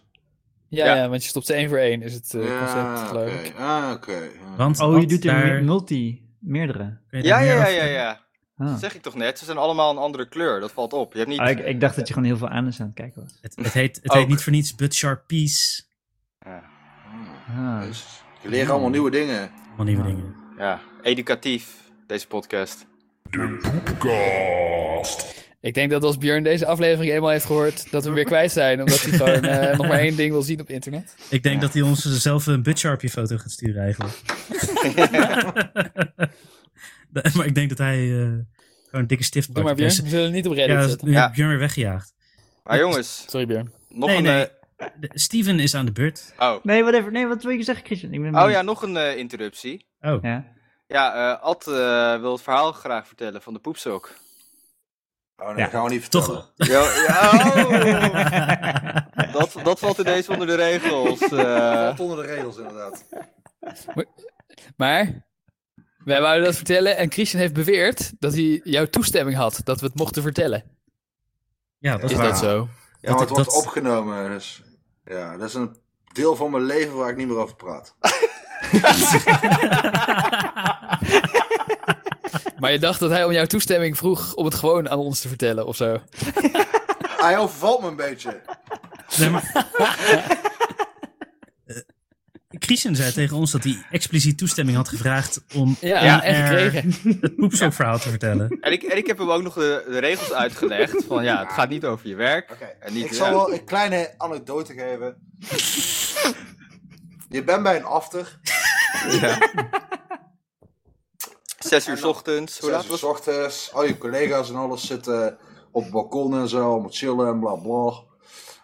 Ja, ja. Ja. want je stopt één voor één, is het eh, concept, geloof oké. ik. Ah, oké. Ja. Want, Oh, je want doet er daar, me- multi, meerdere. kun je Ja, daar ja, meer ja, over- ja, ja. Ah. Dat zeg ik toch net. Ze zijn allemaal een andere kleur. Dat valt op. Je hebt niet... Ah, ik, ik dacht dat je gewoon heel veel anus aan het kijken was. Het, het heet, het heet Ook. niet voor niets Bud Sharpies. Ja. Ah. Jezus. Je leert allemaal nieuwe dingen. Allemaal nieuwe Ah. dingen. ja, educatief, deze podcast. Ik denk dat als Björn deze aflevering eenmaal heeft gehoord, dat we hem weer kwijt zijn. Omdat hij gewoon eh, nog maar één ding wil zien op internet. Ik denk dat hij ons zelf een Bud Sharpie foto gaat sturen eigenlijk. Nee, maar ik denk dat hij eh, gewoon een dikke stift Doe maar pakt. Björn, we zullen het niet op Reddit Ja, zetten. nu heb Ja. ik Björn weer weggejaagd. Maar jongens, Sorry Björn. nog Nee, een... nee. eh, De- Steven is aan de beurt. Oh. Nee, whatever. Nee, wat wil je zeggen, Christian? Ik ben oh benieuwd. ja, nog een eh, interruptie. Oh, Ja. Ja, eh, Ad eh, wil het verhaal graag vertellen van de poepsok. Oh nee, Ja. dat gaan we niet Toch- vertellen. Ja, ja, oh. dat, dat valt ineens onder de regels. eh. Valt onder de regels inderdaad. Maar, wij wouden dat vertellen en Christian heeft beweerd dat hij jouw toestemming had. Dat we het mochten vertellen. ja, dat Is is waar. dat zo? Ja, maar het dat- wordt dat- opgenomen. Dus, ja, dat is een deel van mijn leven waar ik niet meer over praat. Maar je dacht dat hij om jouw toestemming vroeg om het gewoon aan ons te vertellen of zo. Hij overvalt me een beetje. Nee, maar... Eh, Christian zei tegen ons dat hij expliciet toestemming had gevraagd om Ja, Ja. en gekregen. het poepsokverhaal te vertellen. en, ik, en ik heb hem ook nog de, de regels uitgelegd. Van ja, het gaat niet over je werk. Oké, En niet- ik zal ja. wel een kleine anekdote geven. Je bent bij een after, Zes uur 's ochtends. Hoe laat zes uur was 's ochtends, al je collega's en alles zitten op het balkon en zo, om te chillen en bla bla.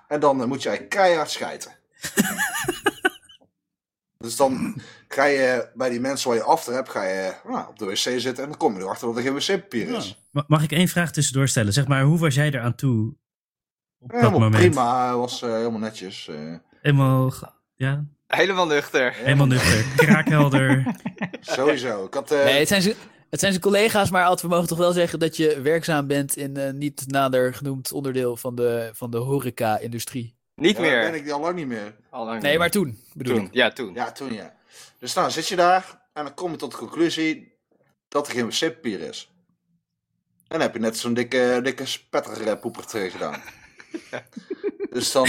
En dan eh, moet jij keihard schijten. dus dan ga je bij die mensen waar je after hebt, ga je nou, op de wc zitten en dan kom je erachter dat er geen wc-papier is. Ma- Mag ik één vraag tussendoor stellen? Zeg maar, hoe was jij eraan toe op dat Helemaal moment? prima, was eh, helemaal netjes. eh. Helemaal, ge- ja, Helemaal nuchter. helemaal nuchter. Kraakhelder. Sowieso. Ik had, eh, Nee, het zijn ze... Het zijn zijn collega's, maar Ad, we mogen toch wel zeggen dat je werkzaam bent in een niet nader genoemd onderdeel van de, van de horeca-industrie. Niet ja, meer. ben ik die al lang niet meer. Al lang Nee, niet. maar toen bedoel toen. ik. Ja, toen. Ja, toen ja. Dus nou zit je daar en dan kom je tot de conclusie dat er geen wc-papier is. En dan heb je net zo'n dikke, dikke spetterpoeper poeper tegen gedaan. dus dan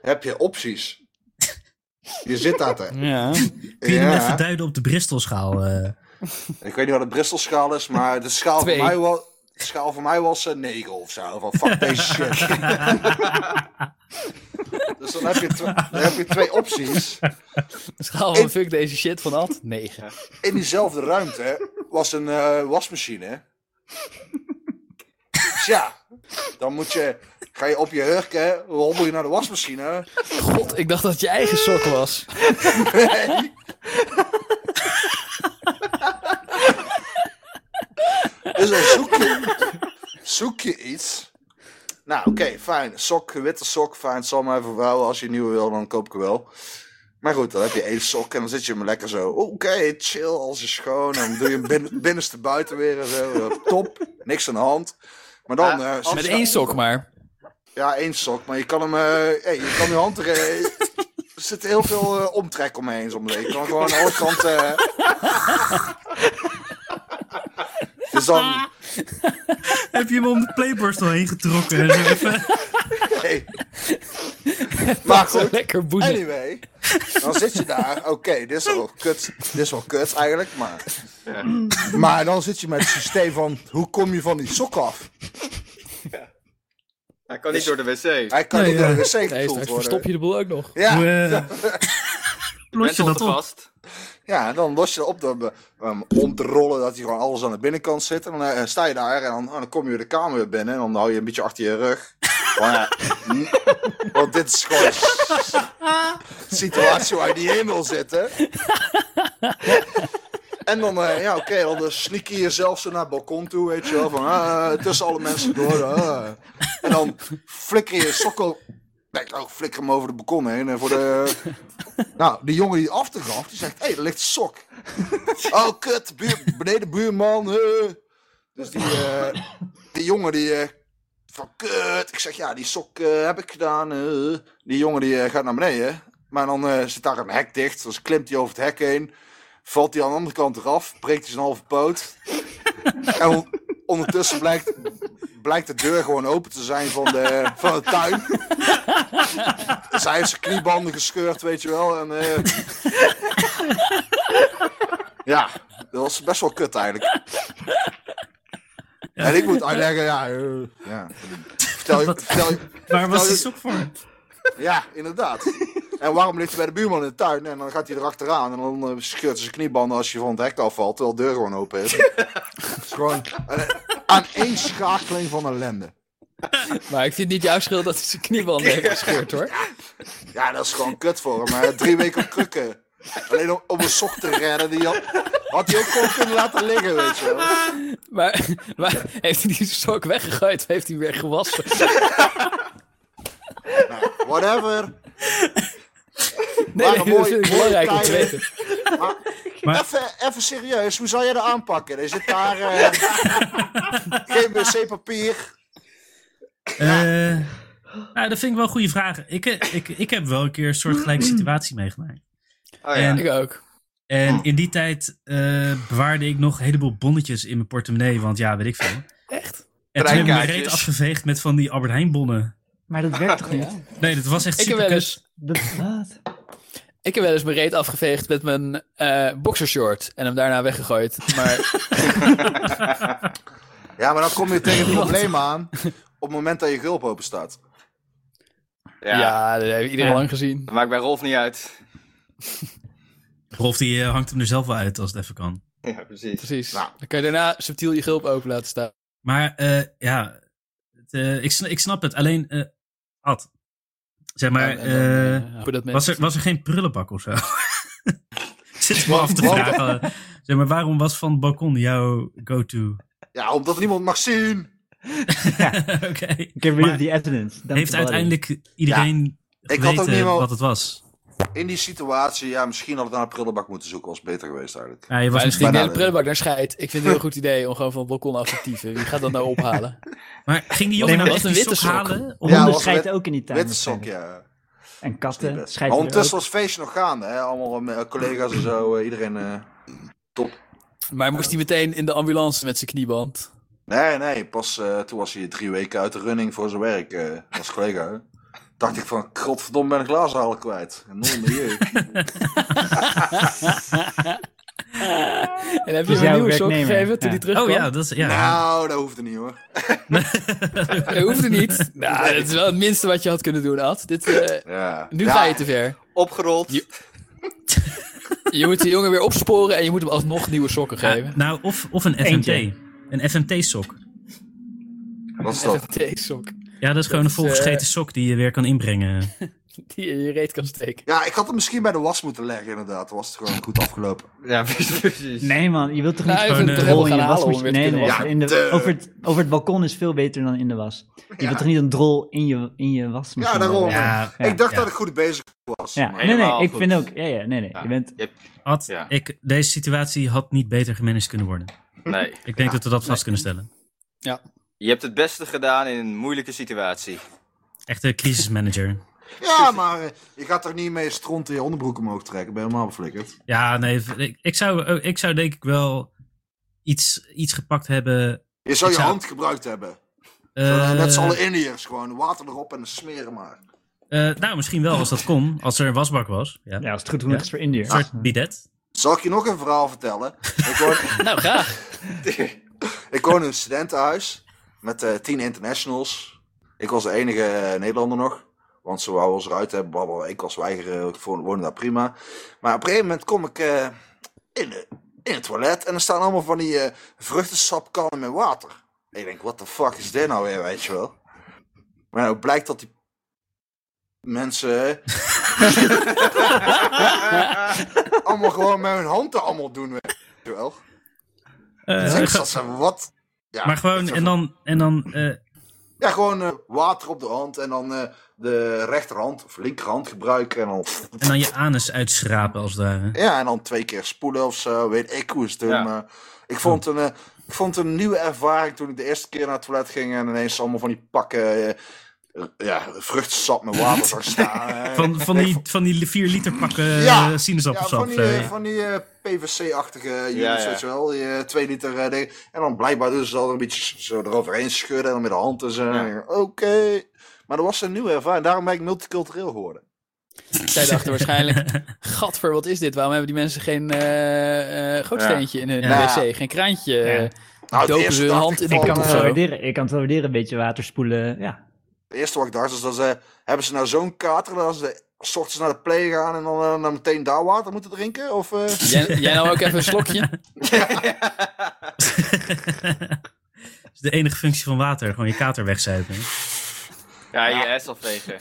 heb je opties. Je zit daar te. Ja. Kun je hem Ja. even duiden op de Bristolschaal? eh? Ik weet niet wat de Bristolschaal is, maar de schaal, voor Twee. mij, was, de schaal voor mij was een 9 of zo. Van fuck deze shit. dus dan heb, je tw- dan heb je twee opties. Schaal van fuck deze shit van Ad? 9. In diezelfde ruimte was een eh, wasmachine. Dus ja, dan moet je, ga je op je hurken, hobbel je naar de wasmachine. God, ik dacht dat het je eigen sok was. Nee. dus dan zoek je, zoek je iets. Nou, oké, fijn. Sok, witte sok, fijn. Zal maar even vouwen. Als je een nieuwe wil, dan koop ik er wel. Maar goed, dan heb je één sok en dan zit je hem lekker zo. Oké, chill, alles is schoon. En dan doe je hem binnen, binnenste buiten weer en zo. Top, niks aan de hand. Maar dan... Ah, eh, Met één sok maar. ja, één sok, maar je kan hem. eh, hey, je kan je hand er. eh, er zit heel veel eh, omtrek omheen soms. Je kan gewoon aan alle kanten. eh. dus dan. Heb je hem om de playborstel heen getrokken? en zo even- Hey. Maar Zo goed, lekker boezem. anyway. Dan zit je daar, oké, dit is wel kut. Dit is wel kut eigenlijk, maar... Ja. Maar dan zit je met het systeem van, hoe kom je van die sok af? Hij kan niet door de wc. Hij kan Nee, niet door ja. de wc Nee, gevoeld straks worden. verstop je de boel ook nog. Ja, Hoe, eh, los je Mensen dat houden op? vast. ja, en dan los je op door hem om te rollen ehm, dat hij gewoon alles aan de binnenkant zit. En dan eh, sta je daar en dan, oh, dan kom je weer de kamer weer binnen en dan hou je een beetje achter je rug. Van, ja, mm, want dit is gewoon een s- situatie waar je niet in wil zitten. En dan, eh, ja, oké, dan eh, sneak je jezelf zo naar het balkon toe, weet je wel. Van, ah, tussen alle mensen door. ah. En dan flikker je sokkel. Nee, oh, flikker hem over de balkon heen. En voor de. Nou, die jongen die afgaf, die zegt: hé, hey, er ligt een sok. oh, kut, buur, beneden buurman. eh. Dus die, eh, die jongen die. eh, van kut. Ik zeg: ja, die sok eh, heb ik gedaan. eh." Die jongen die eh, gaat naar beneden. Maar dan eh, zit daar een hek dicht. Dus klimt hij over het hek heen. Valt hij aan de andere kant eraf. Breekt hij zijn halve poot. en on- ondertussen blijkt, blijkt de deur gewoon open te zijn van de, van de tuin. Dus hij heeft zijn kniebanden gescheurd, weet je wel. En, eh, ja, dat was best wel kut eigenlijk. En ik moet uitleggen, ja. eh, ja. Vertel, je, vertel, je, Waar was Nou, die je- sok voor? ja, inderdaad. En waarom ligt hij bij de buurman in de tuin? En dan gaat hij erachteraan en dan eh, scheurt hij zijn kniebanden als je van het hek afvalt, terwijl de deur gewoon open is. Het is gewoon een, aan één schakeling van ellende. Maar ik vind het niet jouw schuld dat hij zijn kniebanden heeft gescheurd hoor. Ja, dat is gewoon kut voor hem. Maar drie weken op krukken. Alleen om, om een sok te redden, die had, had hij ook gewoon kunnen laten liggen, weet je wel. Maar, maar heeft hij die sok weggegooid of heeft hij weer gewassen? Nou, whatever. Maar een Nee, nee, dat mooi- vind ik mooi belangrijk om te kleine- weten. Even, even serieus, hoe zou jij dat aanpakken? Er zit daar eh, geen wc-papier. Eh, nou, dat vind ik wel een goede vraag. Ik, eh, ik, ik heb wel een keer een soort gelijke Mm. situatie meegemaakt. Oh ja. Ik ook. En Oh. in die tijd eh, bewaarde ik nog een heleboel bonnetjes in mijn portemonnee. Want ja, weet ik veel. Echt? En toen heb ik mijn Treinkaartjes. reet afgeveegd met van die Albert Heijn bonnen. Maar dat werkt toch niet? Nee, dat was echt Ik heb super wel eens Dat, wat? Ik heb wel eens mijn reet afgeveegd met mijn eh boxershort en hem daarna weggegooid. Maar Ja, maar dan kom je tegen het probleem aan op het moment dat je gulp open staat. ja, Ja. dat heeft iedereen Ja. lang gezien. Dat maakt bij Rolf niet uit. Rolf die eh, hangt hem er zelf wel uit als het even kan. Ja, precies. Precies. Nou. Dan kan je daarna subtiel je gulp open laten staan. Maar eh, ja, het, eh, ik, sn- ik snap het. Alleen, eh Ad, zeg maar, En dan, eh, eh, hopen dat was, mensen... er, was er geen prullenbak of zo? Zit ik me af te Wat? vragen. Zeg maar, waarom was van het balkon jouw go-to? Ja, omdat niemand mag zien. Oké. Get rid Maar of the evidence. Don't Heeft worry. uiteindelijk iedereen had ook geweten niet wel- wat het was? In die situatie, ja, misschien had ik naar een prullenbak moeten zoeken. was beter geweest eigenlijk. Ja, je was Maar als je misschien... die Bijna hele wel. prullenbak naar scheidt, ik vind het een heel goed idee om gewoon van het balkon af te dieven. Wie gaat dat nou ophalen? Maar ging die jongen Nee, nou maar echt was die een sok witte sok. halen? Om- Ja, Honden was scheiden wit- ook in die tuin. Witte sok, waarschijnlijk. ja. En Niet katten best. scheiden Maar eh, er ondertussen ook. was het feestje nog gaande, hè. Allemaal eh, collega's en zo, eh, iedereen... eh, Maar moest hij meteen in de ambulance met zijn knieband? Nee, nee, pas eh, toen was hij drie weken uit de running voor zijn werk eh, als collega. hè. Dacht ik van, godverdomme ben ik glazenhalen kwijt. En non milieu. En heb je Dus hem een jouw nieuwe sok werknemer, gegeven toen ja. hij terugkwam? Oh ja, dat is... Ja. Nou, dat hoefde niet hoor. Dat hoefde niet. Nou, dat is wel het minste wat je had kunnen doen, Ad. Dit, eh, Ja. nu Ja, ga je te ver. Opgerold. Je- Je moet die jongen weer opsporen en je moet hem alsnog nieuwe sokken geven. Nou, of, of een FMT. Eentje. Een FMT-sok. Wat is dat? FMT-sok. Ja, dat is gewoon is, een volgescheten sok die je weer kan inbrengen. Die in je reet kan steken. Ja, ik had hem misschien bij de was moeten leggen inderdaad. Dan was het gewoon goed afgelopen. Ja, precies. Nee man, je wilt toch niet Nou, gewoon even een een drol drol in gaan je halen om wasmachine... weer te nee, kunnen nee, wassen. in de- Ja, over, het, over het balkon is veel beter dan in de was. Je wilt toch niet een drol in je, in je wasmachine... Ja, daarom. leggen? Ja, Ja. ik dacht ja. dat ik goed bezig was. Ja, maar- nee, nee, helemaal ik goed. vind ook... Ja, ja, nee, nee. Je bent... Ad, Ja. ik, deze situatie had niet beter gemanaged kunnen worden. Nee. Ik denk dat we dat vast kunnen stellen. Je hebt het beste gedaan in een moeilijke situatie. Echte crisismanager. Ja, maar eh, je gaat toch niet mee stront in je onderbroek omhoog trekken? Ben je helemaal beflikkerd. Ja, nee, ik, ik, zou, eh, ik zou denk ik wel iets, iets gepakt hebben. Je zou Ik je zou- hand gebruikt hebben. eh, Net z'n allen Indiërs gewoon. Water erop en smeren maar. Eh, nou, misschien wel als dat kon. Als er een wasbak was. Ja. Ja, als het goed genoeg Ja. is voor Indiërs. Een soort bidet. Zal ik je nog een verhaal vertellen? Ik woon, Nou, graag. ik woon in een studentenhuis met eh, tien internationals. Ik was de enige eh, Nederlander nog. Want ze wouden ons eruit hebben, blablabla. Ik was weigeren, ik vo- woonde daar prima. Maar op een gegeven moment kom ik eh, in, de- in het toilet en er staan allemaal van die eh vruchtensapkannen met water. En ik denk, wat de fuck is dit nou weer, weet je wel? Maar nou blijkt dat die mensen allemaal gewoon met hun handen allemaal doen, weet je wel? Eh, Dus ik ga- zat zo, wat? Ja, maar ik gewoon, zat en dan, en dan eh, Ja, gewoon eh, water op de hand en dan eh, de rechterhand of linkerhand gebruiken. En dan, En dan je anus uitschrapen als het ware. ja, en dan twee keer spoelen of zo. Weet ik hoe ze het doen. Ja. maar ik, vond een, eh, ik vond een nieuwe ervaring toen ik de eerste keer naar het toilet ging. En ineens allemaal van die pakken eh, eh, ja, vruchtsap met water zag staan. eh. Van, van, Ik die, vond- van die li- vier liter pakken Ja. eh, ja, van sinaasappelsap. die, eh, eh, van die eh, PVC-achtige jongens, Ja, ja. weet je wel. Die eh, twee liter eh, ding. En dan blijkbaar dus ze dat een beetje zo eroverheen schudden. En dan met de hand en zo. Ja. Oké. Maar dat was een nieuwe ervaring. Daarom ben ik multicultureel geworden. Zij dachten waarschijnlijk, gadver, wat is dit? Waarom hebben die mensen geen eh, eh, gootsteentje in hun Ja. wc? Geen kraantje? Ja. Nou, het Dopen eerste ze hun dacht hand ik in Ik de van, kan, het kant eh, zo. wel waarderen, ik kan het wel waarderen, een beetje water spoelen. Ja. Het eerste wat ik dacht is dat ze... Hebben ze nou zo'n kater dat ze de, s ochtends naar de play gaan en dan, eh, dan meteen daar water moeten drinken? Of, eh, Jij, jij nou ook even een slokje? Dat is de enige functie van water. Gewoon je kater wegzuipen. Ja, je ass afvegen.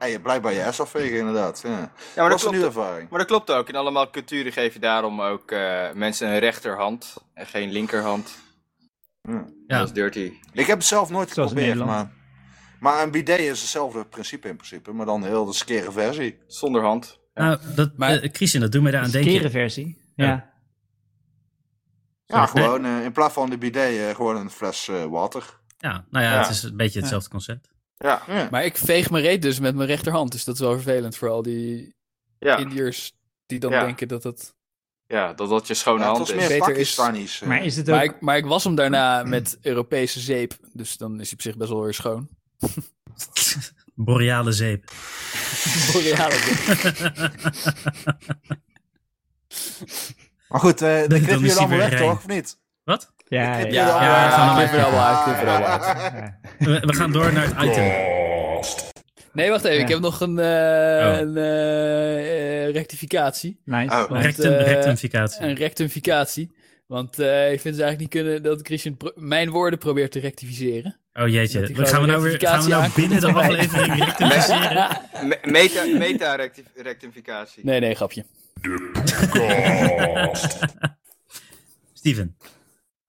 ja, je blijft bij je ass afvegen, inderdaad. Ja. Ja, maar dat dat was een klopt, nieuwe ervaring. maar dat klopt ook. In allemaal culturen geef je daarom ook eh, mensen een rechterhand en geen linkerhand. Ja. Dat is dirty. Ik heb het zelf nooit Zoals in geprobeerd, Nederland. maar... Maar een bidet is hetzelfde principe in principe, maar dan een heel de skere versie. Zonder hand. Nou, dat, Maar- eh, Christian, dat doet mij daar aan Een skere denken. versie. Ja. Ja. Ja, Ja, gewoon eh, in plaats van de bidet eh, gewoon een fles eh, water. Ja, nou ja, Ja. het is een beetje hetzelfde concept. Ja. Ja. Maar ik veeg mijn reet dus met mijn rechterhand. Dus dat is wel vervelend voor al die Ja. Indiërs die dan Ja. denken dat dat... ja, dat dat je schone Ja, het hand is. was meer Beter is- Pakistanisch. eh. Maar is het ook... Maar ik, maar ik was hem daarna met Europese zeep. Dus dan is hij op zich best wel weer schoon. Boreale zeep. Boreale zeep. Maar goed, eh dat Dan knippen is jullie hij allemaal weer weg, rein. toch? Of niet? Wat? ja, ja, Ja, Ja, ja, gaan we knip er maar. wel uit, knip er wel uit. ja. We, we gaan door naar het item. Nee, wacht even. Ik Ja. heb nog een, eh, een eh, eh, rectificatie. Nice. Oh. Want, Rectum, eh, rectumficatie. Een rectificatie. Want eh, ik vind het eigenlijk niet kunnen dat Christian pro- mijn woorden probeert te rectificeren. Oh jeetje, dat die we- gaan we nou weer gaan we rectificatie nou binnen de aankomt. aflevering rectificeren? Me- Meta, meta-rectificatie. Nee, nee, grapje. Steven,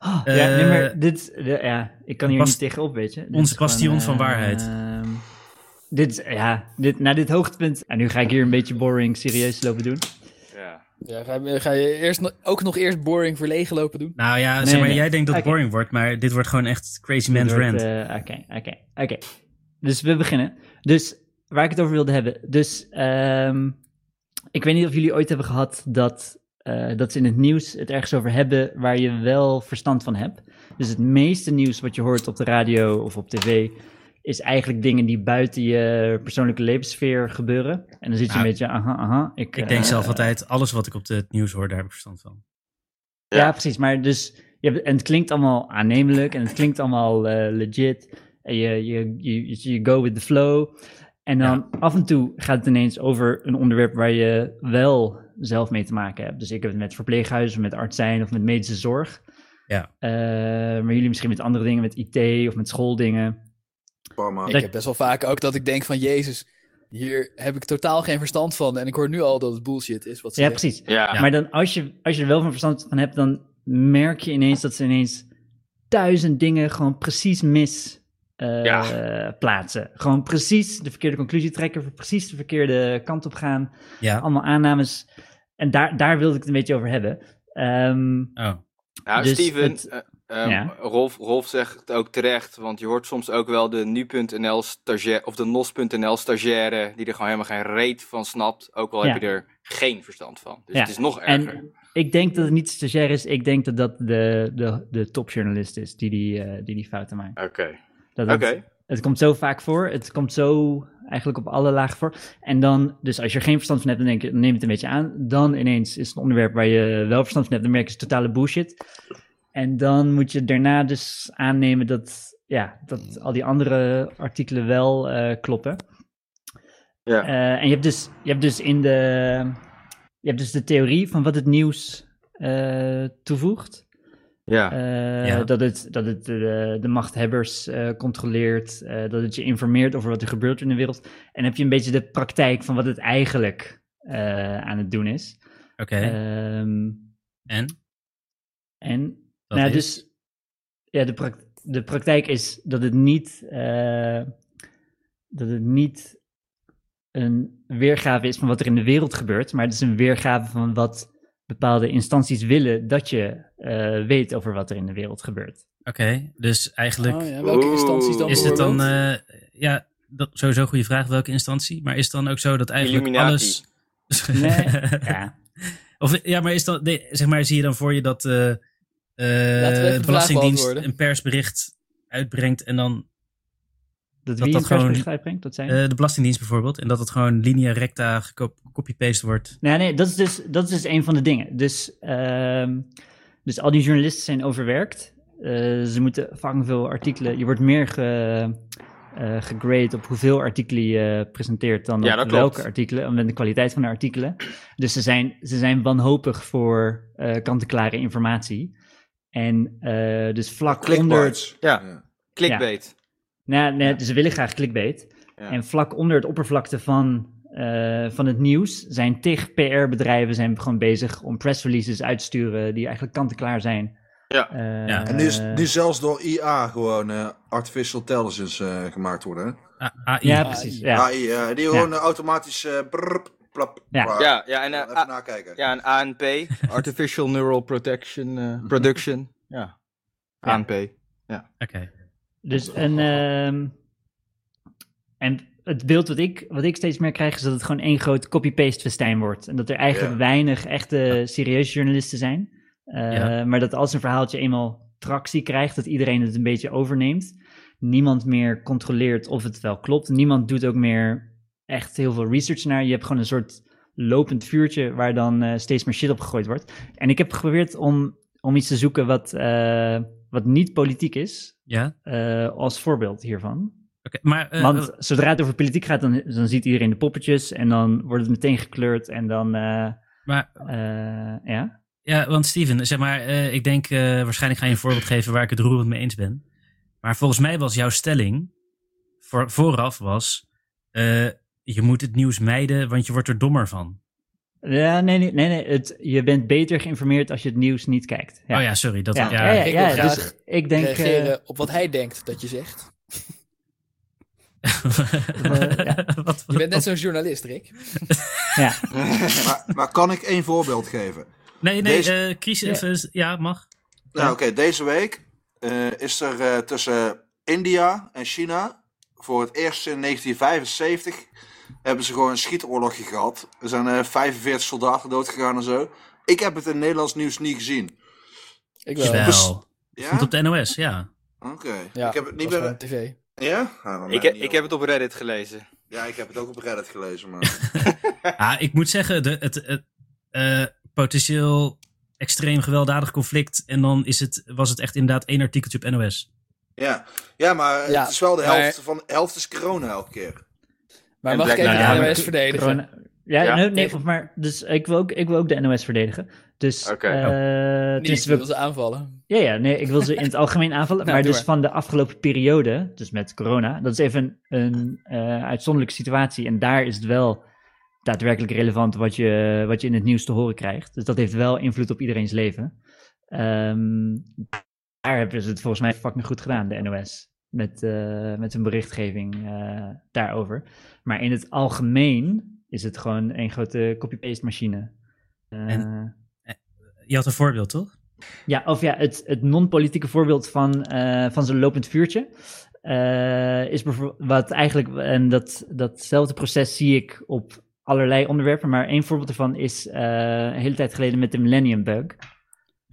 Oh, Eh, ja, nee, maar dit, de- ja, ik kan hier bast- niet tegenop, weet je. Dit onze is gewoon, bastion eh, van waarheid. ehm, dit, is- ja, dit, naar dit hoogtepunt. En nu ga ik hier een beetje boring serieus lopen doen. Ja. Ja, ga, je- ga je eerst, no- ook nog eerst boring verlegen lopen doen? nou ja, Nee, zeg maar, nee. jij denkt dat het Oké. boring wordt, maar dit wordt gewoon echt Crazy Man's Dit wordt, Rant. eh, Oké, oké, oké. Dus we beginnen. Dus waar ik het over wilde hebben. Dus ehm, ik weet niet of jullie ooit hebben gehad dat, eh, dat ze in het nieuws het ergens over hebben waar je wel verstand van hebt. Dus het meeste nieuws wat je hoort op de radio of op tv is eigenlijk dingen die buiten je persoonlijke levenssfeer gebeuren. En dan zit je Nou, een beetje, aha, aha. Ik, Ik denk eh, zelf altijd, alles wat ik op de- het nieuws hoor, daar heb ik verstand van. ja, precies. Maar dus, je hebt, en het klinkt allemaal aannemelijk en het klinkt allemaal eh, legit. En je, je, je, je go with the flow. En dan af en toe gaat het ineens over een onderwerp waar je wel zelf mee te maken hebt. Dus ik heb het met verpleeghuizen, met arts zijn of met medische zorg. Ja. Eh, maar jullie misschien met andere dingen, met IT of met schooldingen. Parma. Ik heb best wel vaak ook dat ik denk van, jezus, hier heb ik totaal geen verstand van. En ik hoor nu al dat het bullshit is wat ze Ja, zeggen. precies. Ja. Maar dan als je, als je er wel van verstand van hebt, dan merk je ineens dat ze ineens duizend dingen gewoon precies mis eh, plaatsen. Gewoon precies de verkeerde conclusie trekken, precies de verkeerde kant op gaan. Ja. Allemaal aannames. En daar, daar wilde ik het een beetje over hebben. Ehm, Oh. Nou, Dus Steven, het- eh, ehm, ja. Rolf, Rolf zegt het ook terecht, want je hoort soms ook wel de nu.nl stagiair of de nos.nl stagiaire die er gewoon helemaal geen reet van snapt, ook al Ja. heb je er geen verstand van. Dus Ja. het is nog erger. en ik denk dat het niet stagiair is. Ik denk dat dat de, de, de topjournalist is die die, eh, die die fouten maakt. Oké. Dat Oké. dat- Het komt zo vaak voor. Het komt zo Eigenlijk op alle lagen voor. En dan, dus als je er geen verstand van hebt, dan denk je, neem het een beetje aan. Dan ineens is het een onderwerp waar je wel verstand van hebt, dan merk je het is totale bullshit. En dan moet je daarna dus aannemen dat, ja, dat al die andere artikelen wel eh, kloppen. Ja. Eh, en je hebt, dus, je hebt dus in de, je hebt dus de theorie van wat het nieuws eh, toevoegt. Ja. Eh, Ah, Ja. Dat het, dat het eh, de, machthebbers eh, controleert, eh, dat het je informeert over wat er gebeurt in de wereld. En heb je een beetje de praktijk van wat het eigenlijk eh, aan het doen is. Oké, Ehm, en? en Dat nou, is- dus ja, de, prak- de praktijk is dat het niet, eh, dat het niet een weergave is van wat er in de wereld gebeurt, maar het is een weergave van wat bepaalde instanties willen dat je eh, weet over wat er in de wereld gebeurt. Oké, dus eigenlijk Oh, ja. Welke Oeh. instanties dan is het dan... bijvoorbeeld? eh, ja, dat, sowieso een goede vraag, welke instantie? Maar is het dan ook zo dat eigenlijk Illuminati. alles... Nee, ja. Of, ja, maar is dan, nee, zeg maar, zie je dan voor je dat eh, eh, vraag de Belastingdienst beantwoorden. een persbericht uitbrengt en dan Dat, dat wie een gewoon- persbericht uitbrengt, dat zijn? eh, de Belastingdienst bijvoorbeeld, en dat het gewoon linea recta gecop- copy-paste wordt. Nou, nee, dat is, dus, dat is dus een van de dingen. Dus, ehm, dus al die journalisten zijn overwerkt. Eh, ze moeten vang veel artikelen. Je wordt meer ge, eh, gegrade op hoeveel artikelen je eh, presenteert dan Ja, op dat klopt. welke artikelen, omwille de kwaliteit van de artikelen. Dus ze zijn, ze zijn wanhopig voor eh kant-en-klare informatie. En eh, dus vlak onder Clickbaits. Ja. Clickbait. nou, nee, ze willen graag clickbait. Ja. En vlak onder het oppervlakte van, eh, van het nieuws zijn tig PR-bedrijven zijn gewoon bezig om press releases uit te sturen die eigenlijk kant-en-klaar zijn. Ja. Eh, Ja. En nu, is, nu zelfs door IA gewoon eh, artificial intelligence eh, gemaakt worden. Hè? A- Ah, AI. ja, precies. Ja. AI, eh, die gewoon eh, automatisch eh, brrp, plap, Ja. plap. Ja, ja, en, eh, even ah, nakijken. ja, een ANP. Artificial Neural Protection eh, Production. Ja. Ja. ANP. Oké. Dus een, ehm, en het beeld wat ik, wat ik steeds meer krijg is dat het gewoon één groot copy-paste festijn wordt. En dat er eigenlijk Ja. weinig echte serieuze journalisten zijn. Eh, Ja. Maar dat als een verhaaltje eenmaal tractie krijgt, dat iedereen het een beetje overneemt. Niemand meer controleert of het wel klopt. Niemand doet ook meer echt heel veel research naar. Je hebt gewoon een soort lopend vuurtje waar dan eh, steeds meer shit op gegooid wordt. En ik heb geprobeerd om, om iets te zoeken wat, eh, wat niet politiek is Ja, oké. eh, als voorbeeld hiervan. Maar eh, Want zodra het over politiek gaat, dan, dan ziet iedereen de poppetjes en dan wordt het meteen gekleurd en dan, eh, Maar- eh, ja. Ja, want Steven, zeg maar, eh, ik denk, eh, waarschijnlijk ga je een voorbeeld geven waar ik het roerend mee eens ben. Maar volgens mij was jouw stelling voor, vooraf was, eh, je moet het nieuws mijden, want je wordt er dommer van. Ja, nee, nee, nee, nee het, je bent beter geïnformeerd als je het nieuws niet kijkt. Ja. Oh ja, sorry. Dat, ja, ja, ja, ja, Ik wil ja, graag dus ik denk... eh, Reageren op wat hij denkt dat je zegt. ja. Wat- Je bent net zo'n journalist, Rick. ja. Maar, maar kan ik één voorbeeld geven? Nee, nee, Deze- eh, crisis, Ja. ja. ja, mag. Nou, oké, deze week eh, is er eh, tussen India en China voor het eerst in 1975 hebben ze gewoon een schietoorlogje gehad. Er zijn eh 45 soldaten doodgegaan en zo. Ik heb het in het Nederlands nieuws niet gezien. Ik wel. Jawel. Dat Ja? Stond op Oké. de NOS, ja. Ja, ik heb het niet was gewoon meer... op tv. Ja? Ah, dan Ik, ben he- niet ik op. heb het op Reddit gelezen. Ja, ik heb het ook op Reddit gelezen, maar... Ah, ik moet zeggen, de, het, het, eh, potentieel extreem gewelddadig conflict. En dan is het, was het echt inderdaad één artikeltje op NOS. ja. ja, maar Ja, het is wel de maar- helft van... Helft is corona elke keer. Maar En mag ik Black even Lives de Matter. NOS verdedigen? eh, Corona- Ja, Ja. nee, nee, of maar dus ik wil, ook, ik wil ook de NOS verdedigen. Dus, Oké. eh, Oh. Niet, dus ik we wil ze aanvallen. Ja, ja, nee, ik wil ze in het algemeen aanvallen. Nou, maar doe dus van de afgelopen periode, dus met corona, dat is even een eh, uitzonderlijke situatie. En daar is het wel daadwerkelijk relevant wat je, wat je in het nieuws te horen krijgt. Dus dat heeft wel invloed op iedereen's leven. Ehm, daar hebben ze het volgens mij fucking goed gedaan, de NOS. Met, eh, met hun berichtgeving eh, daarover. Maar in het algemeen is het gewoon een grote copy-paste machine. Eh, En- Je had een voorbeeld, toch? ja, of ja, het, het non-politieke voorbeeld van, eh, van zo'n lopend vuurtje. eh, is bijvoorbeeld wat eigenlijk, en dat, datzelfde proces zie ik op allerlei onderwerpen, maar één voorbeeld ervan is eh, een hele tijd geleden met de Millennium Bug.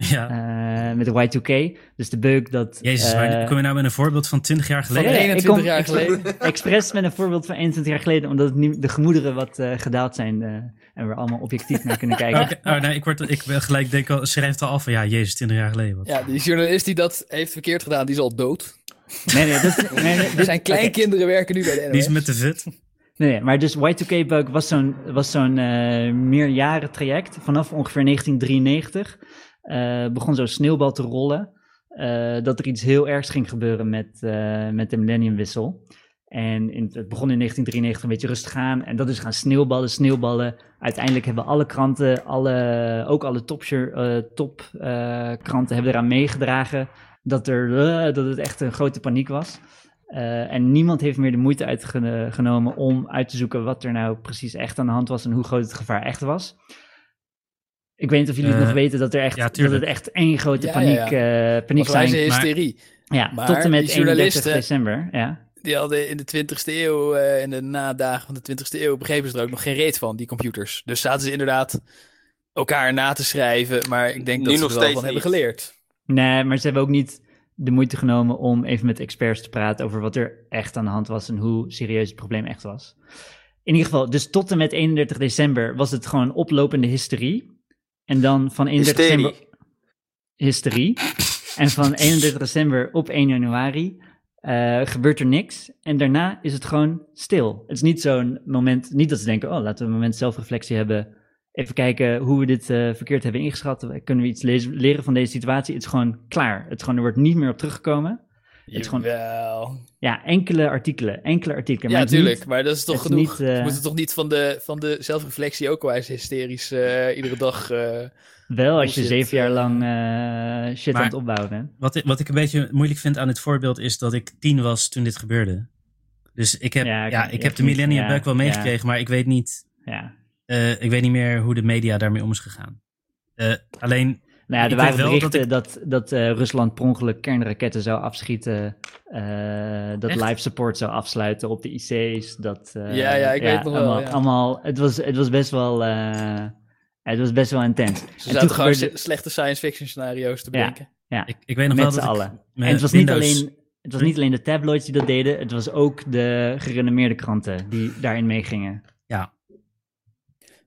Ja. eh, met de Y2K. Dus de beuk dat... Jezus, eh, maar kom je nou met een voorbeeld van 20 jaar Van geleden? ja, ik 21 kom- jaar ik- geleden. Expres met een voorbeeld van 21 jaar geleden, omdat het nu de gemoederen wat eh, gedaald zijn eh, en we er allemaal objectief naar kunnen kijken. Oké, oh, nee, ik, word, ik ben gelijk denk al, schrijf het al af van ja, Jezus, 20 jaar geleden. Wat. Ja, die journalist die dat heeft verkeerd gedaan, die is al dood. Nee, nee, dat is, nee, nee, dit- Zijn kleinkinderen werken nu bij de NOS. Die is met de vet. Nee, nee, maar dus Y2K-bug was zo'n, was zo'n eh, meerjaren traject. Vanaf ongeveer 1993 eh, begon zo'n sneeuwbal te rollen. eh, dat er iets heel ergs ging gebeuren met, eh, met de millenniumwissel. En in, het begon in 1993 een beetje rustig aan. En dat is gaan sneeuwballen, sneeuwballen. Uiteindelijk hebben alle kranten, alle, ook alle topkranten top, eh, kranten hebben eraan meegedragen. Dat, er, eh, dat het echt een grote paniek was. Eh, en niemand heeft meer de moeite uitgenomen om uit te zoeken wat er nou precies echt aan de hand was en hoe groot het gevaar echt was. Ik weet niet of jullie het Eh, nog weten dat, er echt, ja, dat tuurlijk. het echt één grote Ja, paniek, ja, eh, paniek Want wij zijn. zijn maar- hysterie. Ja, maar tot en met die 31 journalisten- december. Ja. Die hadden in de 20ste eeuw eh, en de nadagen van de 20ste eeuw begrepen ze er ook nog geen reet van, die computers. Dus zaten ze inderdaad elkaar na te schrijven, maar ik denk Nu dat ze nog er wel van steeds hebben niet. geleerd. Nee, maar ze hebben ook niet de moeite genomen om even met experts te praten over wat er echt aan de hand was en hoe serieus het probleem echt was. In ieder geval, dus tot en met 31 december was het gewoon oplopende hysterie. En dan van 31 december Hysterie. hysterie. En van 31 december op 1 januari eh, gebeurt er niks. En daarna is het gewoon stil. Het is niet zo'n moment, niet dat ze denken, oh, laten we een moment zelfreflectie hebben. Even kijken hoe we dit eh, verkeerd hebben ingeschat. Kunnen we iets lezen- leren van deze situatie? Het is gewoon klaar. Het is gewoon, er wordt niet meer op teruggekomen. is gewoon- Jawel. Ja, enkele artikelen, enkele artikelen. Ja, maar het is niet- natuurlijk, maar dat is het toch is genoeg. niet, eh, We moeten toch niet van de, van de zelfreflectie ook wel eens hysterisch eh, iedere dag... eh, wel als je bullshit, zeven jaar eh, lang eh, shit maar- aan het opbouwen bent. Wat, ik- wat ik een beetje moeilijk vind aan dit voorbeeld is dat ik tien was toen dit gebeurde. Dus ik heb, Ja, ja, ik- ik ik heb de niet, millennium ja, bug wel ja. meegekregen, maar ik weet, niet, Ja. eh, ik weet niet meer hoe de media daarmee om is gegaan. Eh, alleen, Nou ja, Ik er weet waren wel dat berichten dat, dat, eh, Rusland per ongeluk kernraketten zou afschieten. eh, dat Echt? live support zou afsluiten op de IC's. Dat, eh, Ja, ja, ik weet het nog wel, allemaal, ja. allemaal- het, was, het was best wel... eh, het was best wel intens. Ze zaten gewoon gebeurde- s- slechte science fiction scenario's te Ja. bedenken. ik, ik weet nog Met wel z'n dat ik allen. me en het was, niet Windows- alleen, het was niet alleen de tabloids die dat deden. Het was ook de gerenommeerde kranten die daarin meegingen.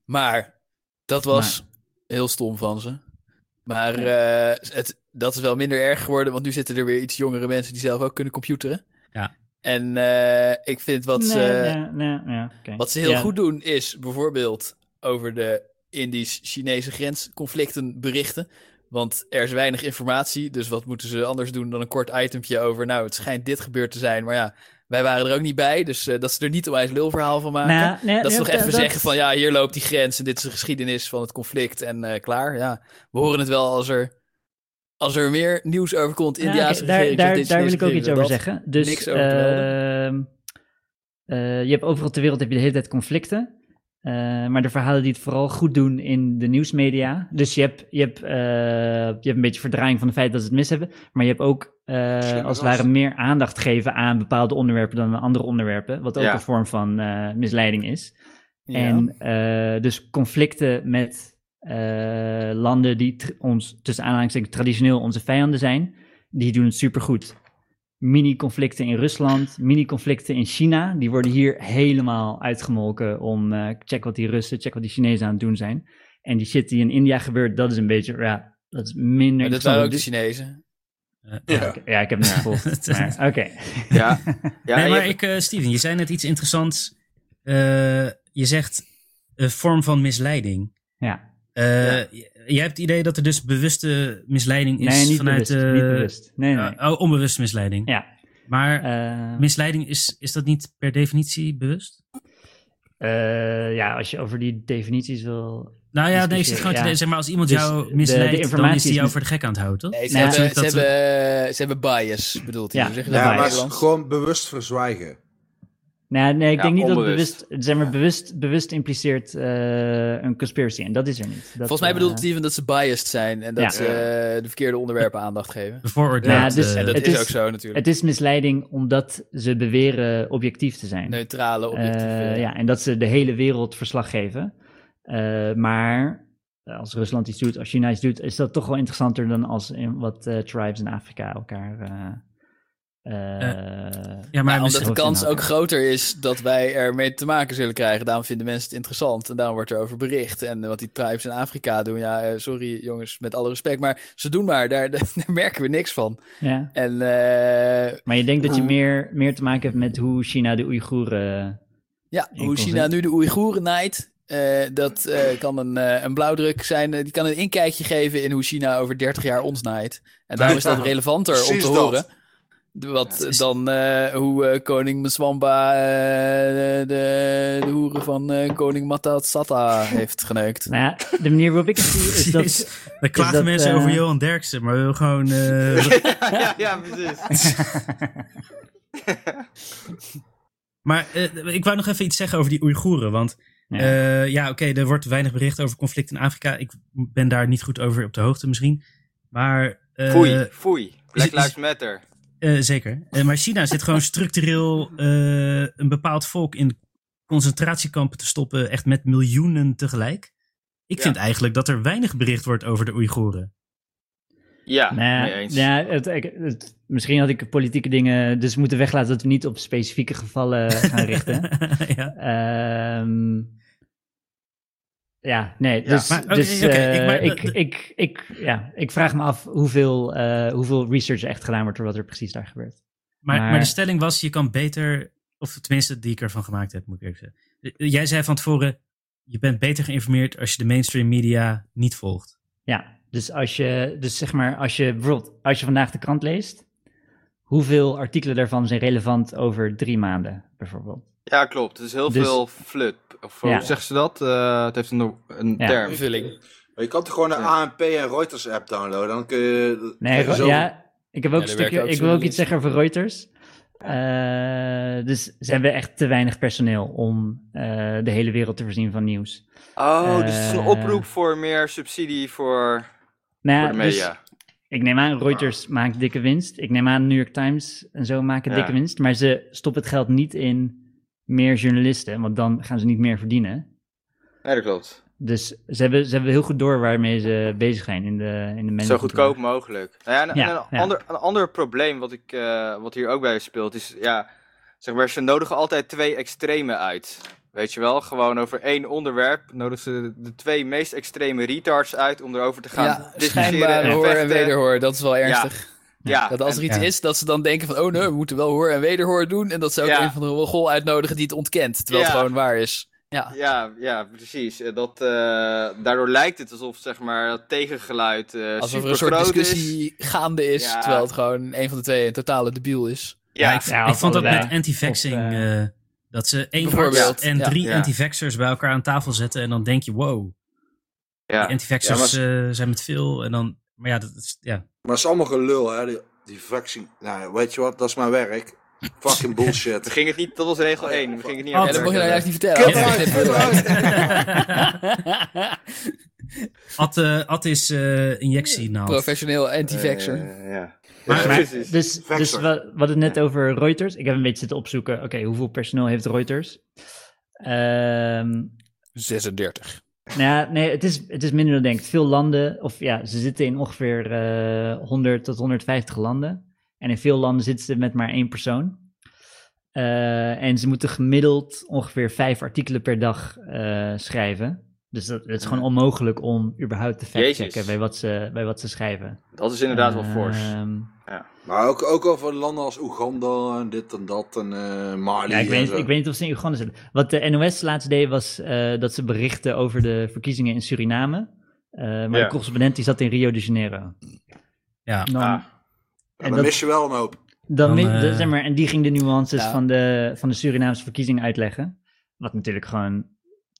Maar dat was heel stom van ze. Maar eh, het, dat is wel minder erg geworden, want nu zitten er weer iets jongere mensen die zelf ook kunnen computeren. Ja. En eh, ik vind wat ze, Nee, nee, nee, nee, oké. wat ze heel Ja, goed doen is bijvoorbeeld over de Indisch-Chinese grensconflicten berichten. Want er is weinig informatie, dus wat moeten ze anders doen dan een kort itempje over... nou, het schijnt dit gebeurd te zijn, maar ja, wij waren er ook niet bij. Dus eh, dat ze er niet een wijs lulverhaal van maken. Nou, nee, Dat ze ja, toch even dat- zeggen van ja, hier loopt die grens en dit is de geschiedenis van het conflict en eh, klaar. Ja, we horen het wel als er, als er meer nieuws over komt. Ja, India's oké, Nou, daar, regering, daar, dit, daar dit, wil ik ook dit, iets over dat. zeggen. Dus Niks over te ehm, eh, je hebt overal ter wereld heb je de hele tijd conflicten. Eh, maar de verhalen die het vooral goed doen in de nieuwsmedia. Dus je hebt, je hebt, eh, je hebt een beetje verdraaiing van het feit dat ze het mis hebben. Maar je hebt ook eh, Slimme als het ware gast. meer aandacht geven aan bepaalde onderwerpen dan aan andere onderwerpen. Wat ook Ja. een vorm van eh, misleiding is. Ja. En eh, dus conflicten met eh, landen die tr- ons, tussen aanhalingstekens, traditioneel onze vijanden zijn, die doen het supergoed. Mini-conflicten in Rusland, mini-conflicten in China, die worden hier helemaal uitgemolken om eh, check wat die Russen, check wat die Chinezen aan het doen zijn. En die shit die in India gebeurt, dat is een beetje, ja, dat is minder Maar dat waren ook de interessant. Chinezen. Eh, Ja. Ja, ik heb het niet gevolgd. maar Oké. Ja, ja nee, maar je hebt- ik, eh, Steven, je zei net iets interessants. Eh, je zegt een vorm van misleiding. Ja. Eh, Ja. j- Jij hebt het idee dat er dus bewuste misleiding is Nee, niet vanuit... bewust. eh, niet bewust. Nee, nee. eh, oh, onbewuste misleiding. Ja. Maar Eh, misleiding, is, is dat niet per definitie bewust? eh, ja, als je over die definities wil Nou ja, nee, ik zit Discussiëren, gewoon te ja. denken, zeg maar, als iemand Dus de- jou de misleidt, dan informatie is is die jou mis- voor de gek aan het houden, toch? Nee, ze, Nou, hebben, natuurlijk ze, dat hebben, ze hebben bias, bedoelt hij. Ja, Hoe zeg je ja, dat in maar het is maar Nederlands? gewoon bewust verzwijgen. Nou, nee, ik Ja, denk niet onbewust. dat bewust, zeg maar, bewust, bewust impliceert eh, een conspiracy. En dat is er niet. Dat, Volgens mij eh, bedoelt Steven dat ze biased zijn en dat Ja. ze eh, de verkeerde onderwerpen aandacht geven. De vooroordelen. Ja, dus- eh, En dat Het is, is- ook zo natuurlijk. Het is misleiding omdat ze beweren objectief te zijn. Neutrale, Eh, objectieve. ja, en dat ze de hele wereld verslag geven. Eh, maar eh, als Rusland iets doet, als China iets doet, is dat toch wel interessanter dan als in wat eh, tribes in Afrika elkaar. eh, eh, Ja, Maar maar Nou, omdat misschien- de kans ook inhouden. groter is dat wij ermee te maken zullen krijgen. Daarom vinden mensen het interessant en daarom wordt er over bericht. En eh, wat die tribes in Afrika doen, ja, eh, sorry jongens, met alle respect. Maar ze doen maar, daar, daar merken we niks van. ja. En eh, Maar je denkt dat je Ja. meer, meer te maken hebt met hoe China de Oeigoeren. Ja, Eén hoe China concept. nu de Oeigoeren naait. eh, dat eh, kan een, eh, een blauwdruk zijn. eh, die kan een inkijkje geven in hoe China over 30 jaar ons naait. En daarom is dat Ja, relevanter om precies te dat. horen. Wat Ja, het is- dan eh, hoe eh, koning Maswamba eh, de, de hoeren van eh, koning Matatsata heeft geneukt. Nou ja, de manier waarop ik het zie is dat. Precies. Dan klagen dat, mensen eh, over Johan Derksen, maar we willen gewoon... eh, ja, ja, precies. maar eh, ik wou nog even iets zeggen over die Oeigoeren, want... Ja. eh, ja, oké, er wordt weinig bericht over conflict in Afrika. Ik ben daar niet goed over op de hoogte misschien. Maar... eh, Foei, foei. Black is- Lives Matter. Eh, zeker. Eh, maar China zit gewoon structureel eh, een bepaald volk in concentratiekampen te stoppen, echt met miljoenen tegelijk. Ik Ja. vind eigenlijk dat er weinig bericht wordt over de Oeigoeren. Ja, Nou, mee eens. ja, het, ik- het- misschien had ik politieke dingen dus moeten weglaten dat we niet op specifieke gevallen gaan richten. ja. Ehm, ja, nee. Ja, Dus, maar oké, dus oké, eh, ik- maar- ik, ik, ik, ja, ik vraag me af hoeveel, eh, hoeveel research er echt gedaan wordt door wat er precies daar gebeurt. Maar, maar... Maar- de stelling was, je kan beter, of tenminste die ik ervan gemaakt heb, moet ik eerlijk zeggen. Eh, Jij zei van tevoren, je bent beter geïnformeerd als je de mainstream media niet volgt. Ja, dus als je, dus zeg maar, als je bijvoorbeeld, als je vandaag de krant leest, hoeveel artikelen daarvan zijn relevant over drie maanden, bijvoorbeeld? Ja, klopt. Het is heel Dus- veel flup. Of hoe Ja. zeggen ze dat? Eh, het heeft een, een Ja. term. Invulling. Maar je kan toch gewoon de Ja. ANP en Reuters app downloaden? Dan kun je. Nee, kun je Ro- zo- ja, ik heb ook een Ja, daar werken stukje, ook ik wil ook iets journalisten. zeggen over Reuters. Eh, dus ze hebben echt te weinig personeel om eh, de hele wereld te voorzien van nieuws. Oh, dus het is een Eh. oproep voor meer subsidie voor, Nou, ja, voor de dus media. ik neem aan, Reuters maakt dikke winst. Ik neem aan, New York Times en zo maken Ja. dikke winst. Maar ze stoppen het geld niet in meer journalisten, want dan gaan ze niet meer verdienen. Nee, dat klopt. Dus ze hebben, ze hebben heel goed door waarmee ze bezig zijn in de, in de mensen. Zo goedkoop mogelijk. Nou ja, en, Ja, en een, ja. Ander, een ander probleem wat, ik, eh, wat hier ook bij speelt is, ja, zeg maar, ze nodigen altijd twee extremen uit. Weet je wel, gewoon over één onderwerp nodigen ze de twee meest extreme retards uit om erover te gaan Ja, discussiëren. schijnbaar hoor en vechten. wederhoor. Dat is wel ernstig. Ja, Dat als er en- iets ja. is, dat ze dan denken van... oh nee, we moeten wel hoor en wederhoor doen. En dat ze ook Ja. een van de Mongool uitnodigen die het ontkent. Terwijl het Ja. gewoon waar is. Ja. Ja, ja, precies. Eh, Dat, eh, daardoor lijkt het alsof zeg maar, dat tegengeluid eh Alsof er een soort supergroot is. discussie gaande is, Ja. terwijl het gewoon een van de twee een totale debiel is. Ja, Ja, ik, ja, ik of vond dat allebei. met anti-vaxxing, Of, eh, eh, dat ze één Bijvoorbeeld, arts en ja. drie Ja. anti-vaxxers bij elkaar aan tafel zetten en dan denk je, wow. ja. Die antivaxxers eh, zijn met veel en dan... Maar ja, dat is... Ja. Maar het is allemaal gelul, hè? Die, die vaccin. Nou, weet je wat? Dat is mijn werk. Fucking We bullshit. gingen het niet, dat was regel 1. We gingen het niet Oh, aan ja, dat dat mocht je nou juist niet Kut vertellen. eruit, kut eruit. Ad, eh, Ad is eh injectie Professioneel Eh, anti-vaxxer. Eh, ja. Maar- maar- precies. Dus, dus Vector. we, we hadden het net over Reuters. Ik heb een beetje zitten opzoeken. Oké, hoeveel personeel heeft Reuters? Ehm 36. Nou ja, nee, het is, het is minder dan denkt. Veel landen, of ja, ze zitten in ongeveer eh 100 tot 150 landen. En in veel landen zitten ze met maar één persoon. Eh, en ze moeten gemiddeld ongeveer vijf artikelen per dag eh, schrijven. Dus dat, het is gewoon onmogelijk om überhaupt te factchecken Jezus. bij wat ze, bij wat ze schrijven. dat is inderdaad wel fors. Eh, Ehm, Maar ook, ook over landen als Oeganda en dit en dat en eh, Mali. ja, ik, en weet, zo. ik weet niet of ze in Oeganda zitten. Wat de NOS laatst deed was eh, dat ze berichten over de verkiezingen in Suriname. Eh, maar Ja. de correspondent die zat in Rio de Janeiro. Ja. Dan, Ah. Ja, en dan dat- mis je wel een hoop. Dan, Dan, mi- de- eh, zeg maar, en die ging de nuances Ja. van, de, van de Surinaamse verkiezing uitleggen. Wat natuurlijk gewoon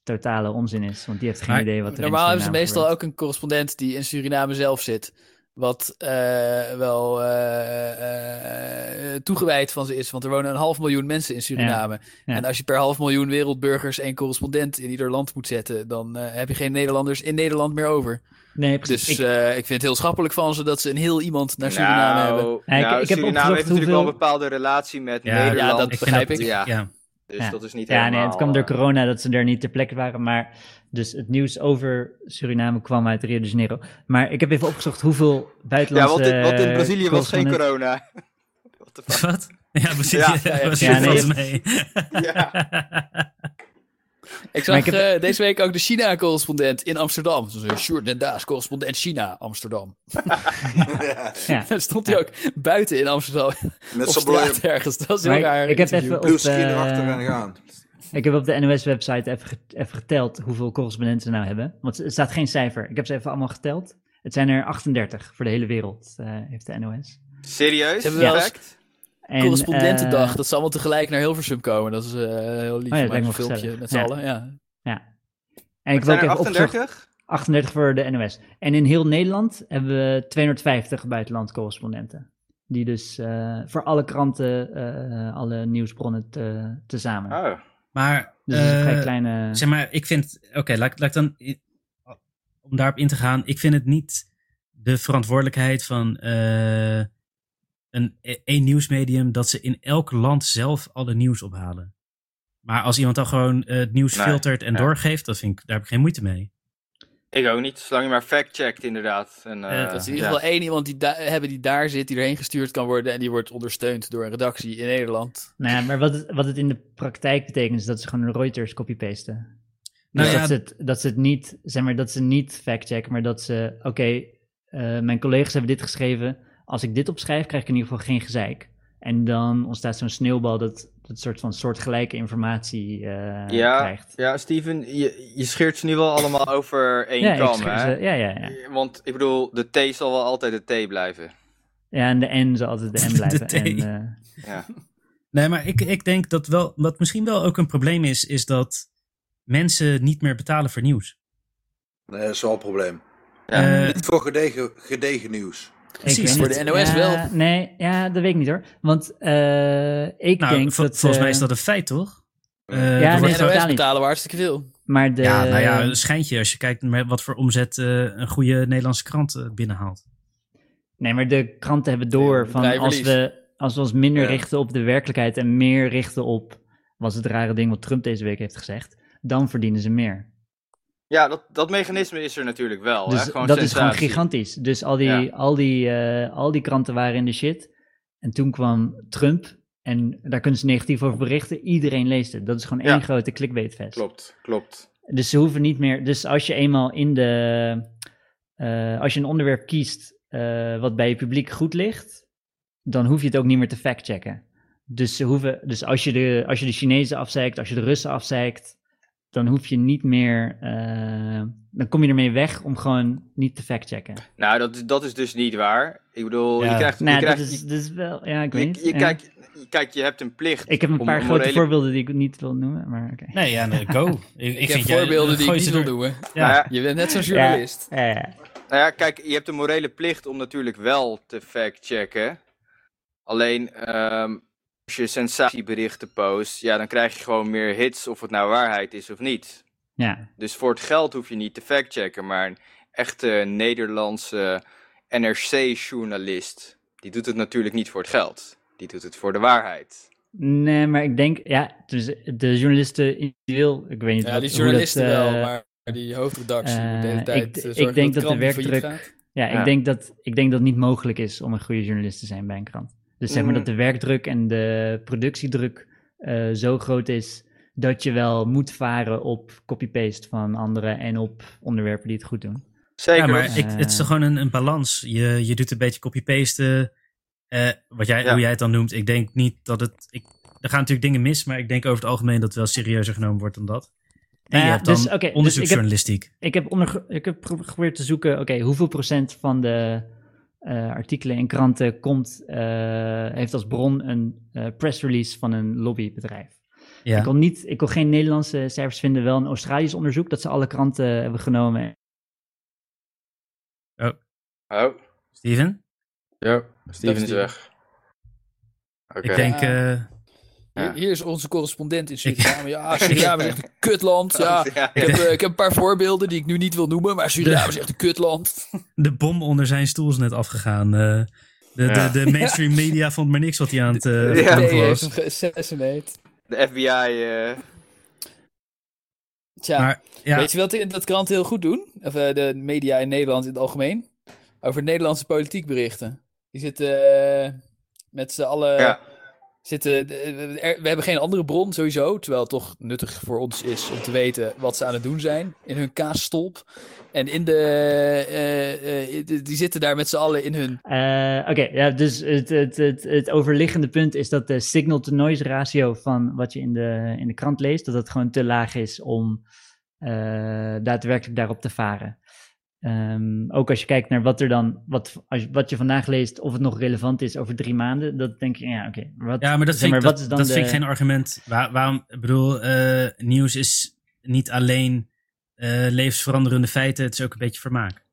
totale onzin is, want die heeft geen Maar idee wat er Normaal in hebben ze Suriname meestal gebeurt. ook een correspondent die in Suriname zelf zit. Wat eh, wel eh, eh, toegewijd van ze is. Want er wonen een half miljoen mensen in Suriname. ja. En als je per half miljoen wereldburgers één correspondent in ieder land moet zetten. dan eh, heb je geen Nederlanders in Nederland meer over. Nee, precies. Dus Ik- eh, ik vind het heel schappelijk van ze dat ze een heel iemand naar Suriname hebben. Ja, ik- nou, ik heb Suriname opgezocht heeft natuurlijk wel hoeveel- een bepaalde relatie met Ja, Nederland. ja, dat vind begrijp dat- ik. Ja. Dus Ja. dat is niet ja, helemaal... nee, het kwam door eh, corona dat ze er niet ter plekke waren, maar Dus het nieuws over Suriname kwam uit Rio de Janeiro. Maar ik heb even opgezocht hoeveel Ja, buitenlandse... want in, want in eh, Brazilië was geen correspondenten- corona. What the fuck? Wat? Ja, precies. Ja, Ja, ja, ja. was Ja, nee, volgens mij. Ja. Ik Maar zag ik eh, deze week ook de China-correspondent in Amsterdam. Dus eh, Sjoerd Den Daas, correspondent China, Amsterdam. Ja. Ja. Daar stond hij ook buiten in Amsterdam, Met op zo'n blauwe straat ergens. Dat is Maar heel ik- raar. ik heb interview. even op, blues eh, erachter en gaan. Ik heb op de NOS-website even, ge- even geteld hoeveel correspondenten ze nou hebben. Want er staat geen cijfer. Ik heb ze even allemaal geteld. Het zijn er 38 voor de hele wereld, eh, heeft de NOS. Serieus? Ze hebben wel eens- Perfect? En, Correspondentendag, eh, dat ze allemaal tegelijk naar Hilversum komen. Dat is eh, heel lief. Oh ja, dat lijkt maar me een filmpje gezellig. met z'n Ja. allen. Ja. en ik wil Zijn ook er even opzoeken. 38? 38 voor de NOS. En in heel Nederland hebben we 250 buitenlandcorrespondenten. Die dus eh, voor alle kranten, eh, alle nieuwsbronnen te, tezamen. Oh. Maar, Dus het is een vrij eh, kleine... zeg maar, ik vind... Oké, laat, laat ik dan... Om daarop in te gaan. Ik vind het niet de verantwoordelijkheid van eh, een e-, één nieuwsmedium... dat ze in elk land zelf alle nieuws ophalen. Maar als iemand dan gewoon eh, het nieuws Nee, filtert en ja. doorgeeft... Dat vind ik, daar heb ik geen moeite mee. Ik ook niet, zolang je maar fact-checkt inderdaad. En, eh, Ja, Dat is in ja. ieder geval één iemand die da- hebben die daar zit, die erheen gestuurd kan worden. En die wordt ondersteund door een redactie in Nederland. Nou ja, maar wat het, wat het in de praktijk betekent, is dat ze gewoon een Reuters copy-pasten. Dus Nou ja, dat, ze het, dat ze het niet, zeg maar, dat ze niet fact-checken, maar dat ze, oké, eh, mijn collega's hebben dit geschreven. Als ik dit opschrijf, krijg ik in ieder geval geen gezeik. En dan ontstaat zo'n sneeuwbal dat dat soort van soortgelijke informatie eh, Ja, krijgt. Ja, Steven, je, je scheert ze nu wel allemaal over één ik kam, schrijf hè? ze- ja, ja, ja. Want ik bedoel, de T zal wel altijd de T blijven. Ja, en de N zal altijd de N blijven. T. en, eh, Ja. Nee, maar ik, ik denk dat wel, wat misschien wel ook een probleem is, is dat mensen niet meer betalen voor nieuws. Eh, Nee, dat is wel een probleem. Ja, Eh, Niet voor gedegen, gedegen nieuws. Precies, ik weet voor niet. de NOS Ja, wel. Nee, ja, dat weet ik niet hoor. Want eh, ik nou, denk vo- dat... volgens mij eh, is dat een feit, toch? Eh, Ja, er nee, wordt dat En de gewoon- betaal NOS niet. betalen we hartstikke veel. Maar de, ja, nou eh, ja, een schijntje als je kijkt naar wat voor omzet eh, een goede Nederlandse krant eh, binnenhaalt. Nee, maar de kranten hebben door Ja, van als bedrijvenliefde. we, als we ons minder Ja. richten op de werkelijkheid en meer richten op, was het rare ding wat Trump deze week heeft gezegd, dan verdienen ze meer. Ja, dat, dat mechanisme is er natuurlijk wel. dus hè? Gewoon dat is gewoon sensatie. gigantisch. Dus al die, Ja. al, die, eh, al die kranten waren in de shit. En toen kwam Trump en daar kunnen ze negatief over berichten. Iedereen leest het. Dat is gewoon Ja. één grote clickbaitfest. Klopt, klopt. Dus ze hoeven niet meer. Dus als je eenmaal in de. eh, als je een onderwerp kiest eh, wat bij je publiek goed ligt, dan hoef je het ook niet meer te factchecken. Dus, ze hoeven, dus als, je de, als je de Chinezen afzeikt, als je de Russen afzeikt, dan hoef je niet meer. eh, dan kom je ermee weg om gewoon niet te factchecken. Nou, dat, is- dat is dus niet waar. Ik bedoel, je Ja. krijgt... je Nou, dat krijgt is, je- dat is wel. Ja, ik je- weet niet. je ja. kijkt- je- Kijk, je hebt een plicht. ik heb een om- paar om grote redelijk- voorbeelden die ik niet wil noemen, maar oké. Nee, ja, go. ik, ik, Ik, vind heb voorbeelden die ik niet wil doen. doen. Ja. Nou ja, Je bent net zo'n journalist. Ja, ja. Nou ja, kijk, je hebt een morele plicht om natuurlijk wel te fact-checken. Alleen, ehm, als je sensatieberichten post, ja, dan krijg je gewoon meer hits of het nou waarheid is of niet. ja. Dus voor het geld hoef je niet te fact-checken, maar een echte Nederlandse NRC-journalist, die doet het natuurlijk niet voor het geld. Die doet het voor de waarheid. Nee, maar ik denk, ja, dus de journalisten individueel, ik weet niet Ja, wat- die hoe journalisten dat, eh, wel, maar die hoofdredactie eh, moet de hele ik- tijd eh, ik zorgen denk dat, dat de krant niet failliet werkdruk- gaat. Ja, ik ja. denk dat ik denk dat het niet mogelijk is om een goede journalist te zijn bij een krant. Dus zeg maar Mhm. Mm. dat de werkdruk en de productiedruk eh, zo groot is dat je wel moet varen op copy-paste van anderen en op onderwerpen die het goed doen. Zeker. Ja, maar hoor. ik, het is toch gewoon een, een balans. Je, je doet een beetje copy-pasten. eh, wat jij, Ja. Hoe jij het dan noemt. Ik denk niet dat het... Ik, er gaan natuurlijk dingen mis, maar ik denk over het algemeen dat het wel serieuzer genomen wordt dan dat. En Nou ja, je hebt dan dus, oké, dus ik heb- onderzoeksjournalistiek. Ik heb, onder, ik heb gepro- geprobeerd te zoeken, oké, hoeveel procent van de eh, artikelen in kranten komt, eh, heeft als bron een eh, press release van een lobbybedrijf? ja. Ik, kon niet, ik kon geen Nederlandse cijfers vinden, wel een Australisch onderzoek dat ze alle kranten hebben genomen. Oh, Steven? ja, Steven Steven is is weg. Oké. Ik denk... Ja. eh, Ja. Hier, hier is onze correspondent in Ik- Suriname. Ja, Suriname is echt een kutland. Ja, Ja. Ik, ja. heb, eh, ik heb een paar voorbeelden die ik nu niet wil noemen, maar Suriname is echt een kutland. de bom onder zijn stoel is net afgegaan. eh. de, Ja. de, de mainstream media vond maar niks wat hij aan het eh Ja, verkopen nee, heeft was. eh, hem geassassinate. De FBI. eh, Tja, Maar ja, weet je wat in dat krant heel goed doen? Of eh, de media in Nederland in het algemeen? Over Nederlandse politiek berichten. Die zitten eh, met z'n allen... Ja. Zitten, eh, er- we hebben geen andere bron sowieso, terwijl het toch nuttig voor ons is om te weten wat ze aan het doen zijn in hun kaasstolp. En in de, eh, eh, die zitten daar met z'n allen in hun Eh, Oké, ja, dus het, het, het, het overliggende punt is dat de signal-to-noise ratio van wat je in de, in de krant leest, dat dat gewoon te laag is om eh, daadwerkelijk daarop te varen. Ehm, ook als je kijkt naar wat er dan, wat, als, je- wat je vandaag leest, of het nog relevant is over drie maanden, dat denk ik, ja, oké. wat- ja, maar dat, zeg vind, ik- wat dat, is dan dat de- vind ik geen argument. Waar- waarom, ik bedoel, eh, nieuws is niet alleen eh, levensveranderende feiten, het is ook een beetje vermaak.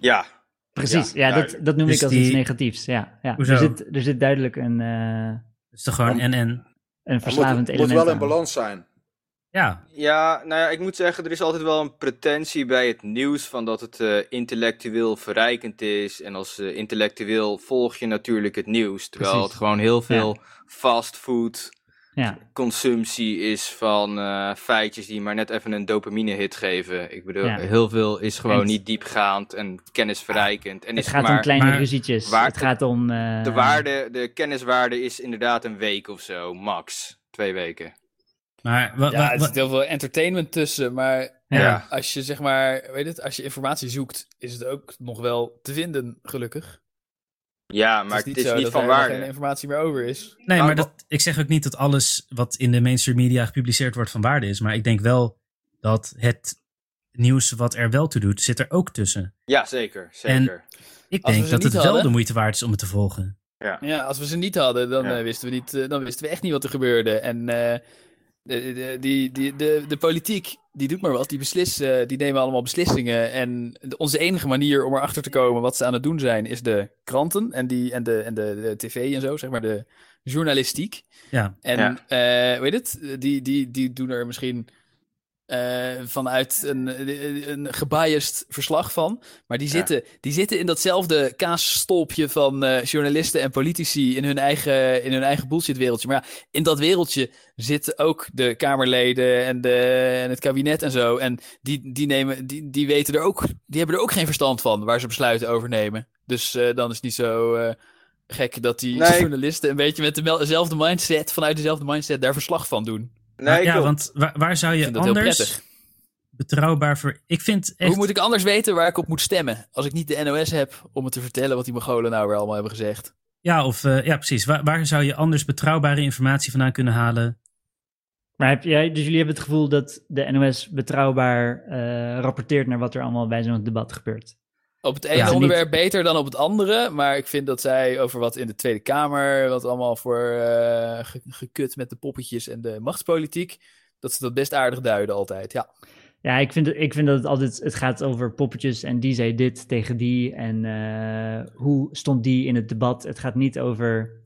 Ja, Precies, ja, Ja, dat, dat noem Dus ik als die- iets negatiefs. Ja, ja. Hoezo? Er, zit, er zit duidelijk een, eh, Het is toch gewoon Ja. en-en. een Het verslavend moet, element moet wel in aan. balans zijn. Ja, Ja, nou ja, ik moet zeggen, er is altijd wel een pretentie bij het nieuws van dat het eh, intellectueel verrijkend is. En als eh, intellectueel volg je natuurlijk het nieuws. Terwijl Precies. het gewoon heel veel fastfood Ja, consumptie is van eh, feitjes die maar net even een dopamine hit geven. Ik bedoel, Ja. heel veel is gewoon En- niet diepgaand en kennisverrijkend. En het is gaat om maar kleine maar ruzietjes. waar- het gaat om... eh, de waarde, de kenniswaarde is inderdaad een week of zo, max. Twee weken. maar... wa- wa- Ja, er wa- zit heel veel entertainment tussen, maar Ja. Ja. als je zeg maar, weet het, als je informatie zoekt, is het ook nog wel te vinden, gelukkig. Ja, maar het is niet, zo niet dat van er helemaal waarde. geen informatie meer over is. Nee, maar Nou, dat, ik zeg ook niet dat alles wat in de mainstream media gepubliceerd wordt van waarde is. Maar ik denk wel dat het nieuws wat er wel toe doet, zit er ook tussen. Ja, zeker, zeker. Ik Als we denk ze dat niet het wel hadden- de moeite waard is om het te volgen. Ja, als we ze niet hadden, dan, Ja. eh, wisten, we niet, eh, dan wisten we echt niet wat er gebeurde. En eh, de, de, die, die, de, de politiek, die doet maar wat, die, beslissen, die nemen allemaal beslissingen. En de- onze enige manier om erachter te komen wat ze aan het doen zijn, is de kranten en, die, en, de, en de, de tv en zo, zeg maar, de journalistiek. Ja. En eh, weet het, die, die, die doen er misschien eh, vanuit een, een gebiased verslag van. Maar die Ja. zitten, die zitten in datzelfde kaasstolpje van eh, journalisten en politici in hun eigen, in hun eigen bullshit wereldje. Maar ja, in dat wereldje zitten ook de Kamerleden en, de, en het kabinet en zo. En die, die, nemen, die, die weten er ook, die hebben er ook geen verstand van waar ze besluiten over nemen. Dus eh, dan is het niet zo. eh, gek dat die Nee. journalisten een beetje met demel- dezelfde mindset, vanuit dezelfde mindset, daar verslag van doen. Nee, ja, klopt. want wa- waar, zou Ik je vind dat heel anders prettig. betrouwbaar voor... Ik vind echt... Hoe moet ik anders weten waar ik op moet stemmen als ik niet de NOS heb om me te vertellen wat die Mongolen nou weer allemaal hebben gezegd? Ja, of, eh, ja, precies. Waar, waar zou je anders betrouwbare informatie vandaan kunnen halen? Maar heb jij, dus jullie hebben het gevoel dat de NOS betrouwbaar eh, rapporteert naar wat er allemaal bij zo'n debat gebeurt? Op het ene Ja, niet- onderwerp beter dan op het andere, maar ik vind dat zij over wat in de Tweede Kamer, wat allemaal voor eh, ge- gekut met de poppetjes en de machtspolitiek, dat ze dat best aardig duiden altijd. Ja, Ja, ik vind, het- ik vind dat het altijd, het gaat over poppetjes en die zei dit tegen die en eh, hoe stond die in het debat. Het gaat niet over,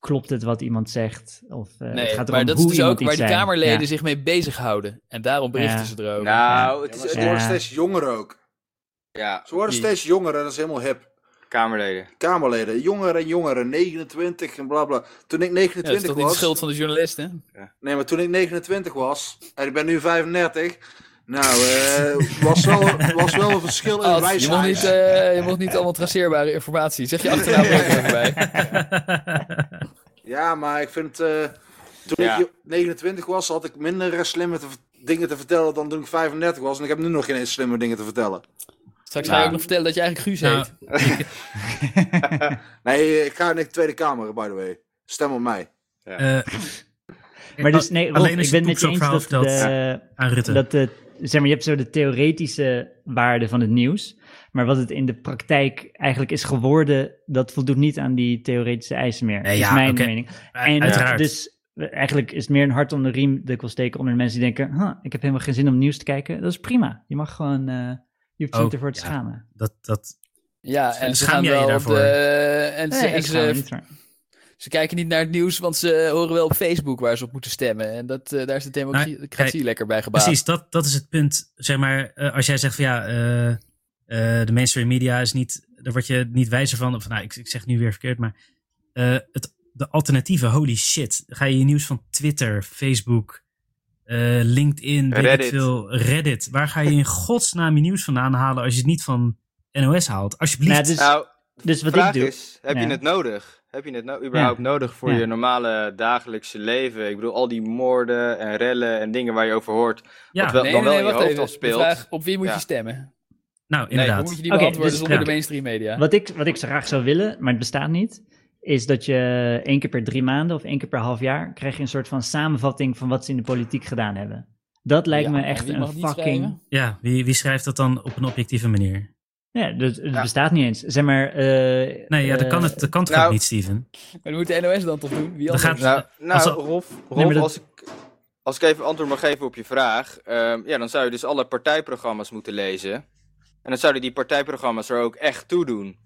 klopt het wat iemand zegt? Of, eh, nee, het gaat erom maar dat is hoe dus iemand ook waar iets die zei. Kamerleden Ja. zich mee bezighouden. En daarom berichten Ja. ze erover. Nou, Ja, het maar is ze Ja. worden steeds jonger ook. ja, Ze worden Die- steeds jonger en dat is helemaal hip. Kamerleden. Kamerleden, jonger en jonger, en 29 en bla bla. Toen ik Ja, dat is 29 toch niet de was. schuld van de journalisten? Nee, maar toen ik 29 was en ik ben nu 35. Nou, eh, was, wel, was wel een verschil in Ad, je, wijsheid. mocht niet, eh, je mocht niet allemaal traceerbare informatie. Zeg je achternaam ook even bij. Ja, maar ik vind. eh, toen Ja. ik 29 was, had ik minder eh, slimme te ver- dingen te vertellen dan toen ik 35 was. En ik heb nu nog geen eens slimme dingen te vertellen. Straks ga Nou. je ook nog vertellen dat je eigenlijk Guus Nou, heet. Nee, ik ga in de Tweede Kamer, by the way. Stem op mij. eh, Maar dus, nee, Rob, Alleen als ik je ben het met je eens poepzorgverhaal dat, de, aan Rutte. dat de, zeg maar, je hebt zo de theoretische waarde van het nieuws. Maar wat het in de praktijk eigenlijk is geworden, dat voldoet niet aan die theoretische eisen meer. Nee, Dat is ja, mijn oké. mening. en, Uiteraard. dus eigenlijk is het meer een hart om de riem de wil steken onder de mensen die denken, huh, ik heb helemaal geen zin om nieuws te kijken. Dat is prima. Je mag gewoon, eh, je hoeft je Oh, niet ervoor te ja. schamen. dat, dat, Ja, en ze Schaam gaan jij je wel op daarvoor? de... En ze, Nee, en ik schaam me ze, niet voor. ze kijken niet naar het nieuws, want ze horen wel op Facebook waar ze op moeten stemmen. En dat, eh, daar is de democratie kijk, lekker bij gebaat. precies, dat, dat is het punt. Zeg maar, eh, als jij zegt van ja, eh, eh, de mainstream media is niet... Daar word je niet wijzer van. Of, nou, ik, ik zeg nu weer verkeerd, maar... eh, het, de alternatieven, holy shit. Ga je je nieuws van Twitter, Facebook, eh, LinkedIn, weet ik Reddit. veel, Reddit. Waar ga je in godsnaam je nieuws vandaan halen als je het niet van NOS haalt? Alsjeblieft. Nou, dus, Nou, dus de wat ik vraag doe. is, heb Ja. je het nodig? Heb je het nou überhaupt nodig voor Ja. je normale dagelijkse leven? Ik bedoel, al die moorden en rellen en dingen waar je over hoort. ja, wat wel- dan wel in je hoofd even. afspeelt. De vraag, op wie moet Ja. je stemmen? nou Nee, inderdaad. hoe moet je die Oké, beantwoorden dus- zonder ja. de mainstream media? Wat ik, wat ik zo graag zou willen, maar het bestaat niet, is dat je één keer per drie maanden of één keer per half jaar krijg je een soort van samenvatting van wat ze in de politiek gedaan hebben. Dat lijkt Ja, me maar echt wie een mag die fucking. schrijven? Ja, wie, wie schrijft dat dan op een objectieve manier? Ja, dat, het Ja. bestaat niet eens. Zeg maar. eh, Nee, ja, dat kan, eh, het, dat kan het nou, gewoon niet, Steven. Maar dan moet de NOS dan toch doen? Wie Dan anders? gaat- Nou, nou als- Rolf, Rolf maar dat- als, ik, als ik even antwoord mag geven op je vraag. ehm, ja, dan zou je dus alle partijprogramma's moeten lezen. En dan zouden die partijprogramma's er ook echt toe doen.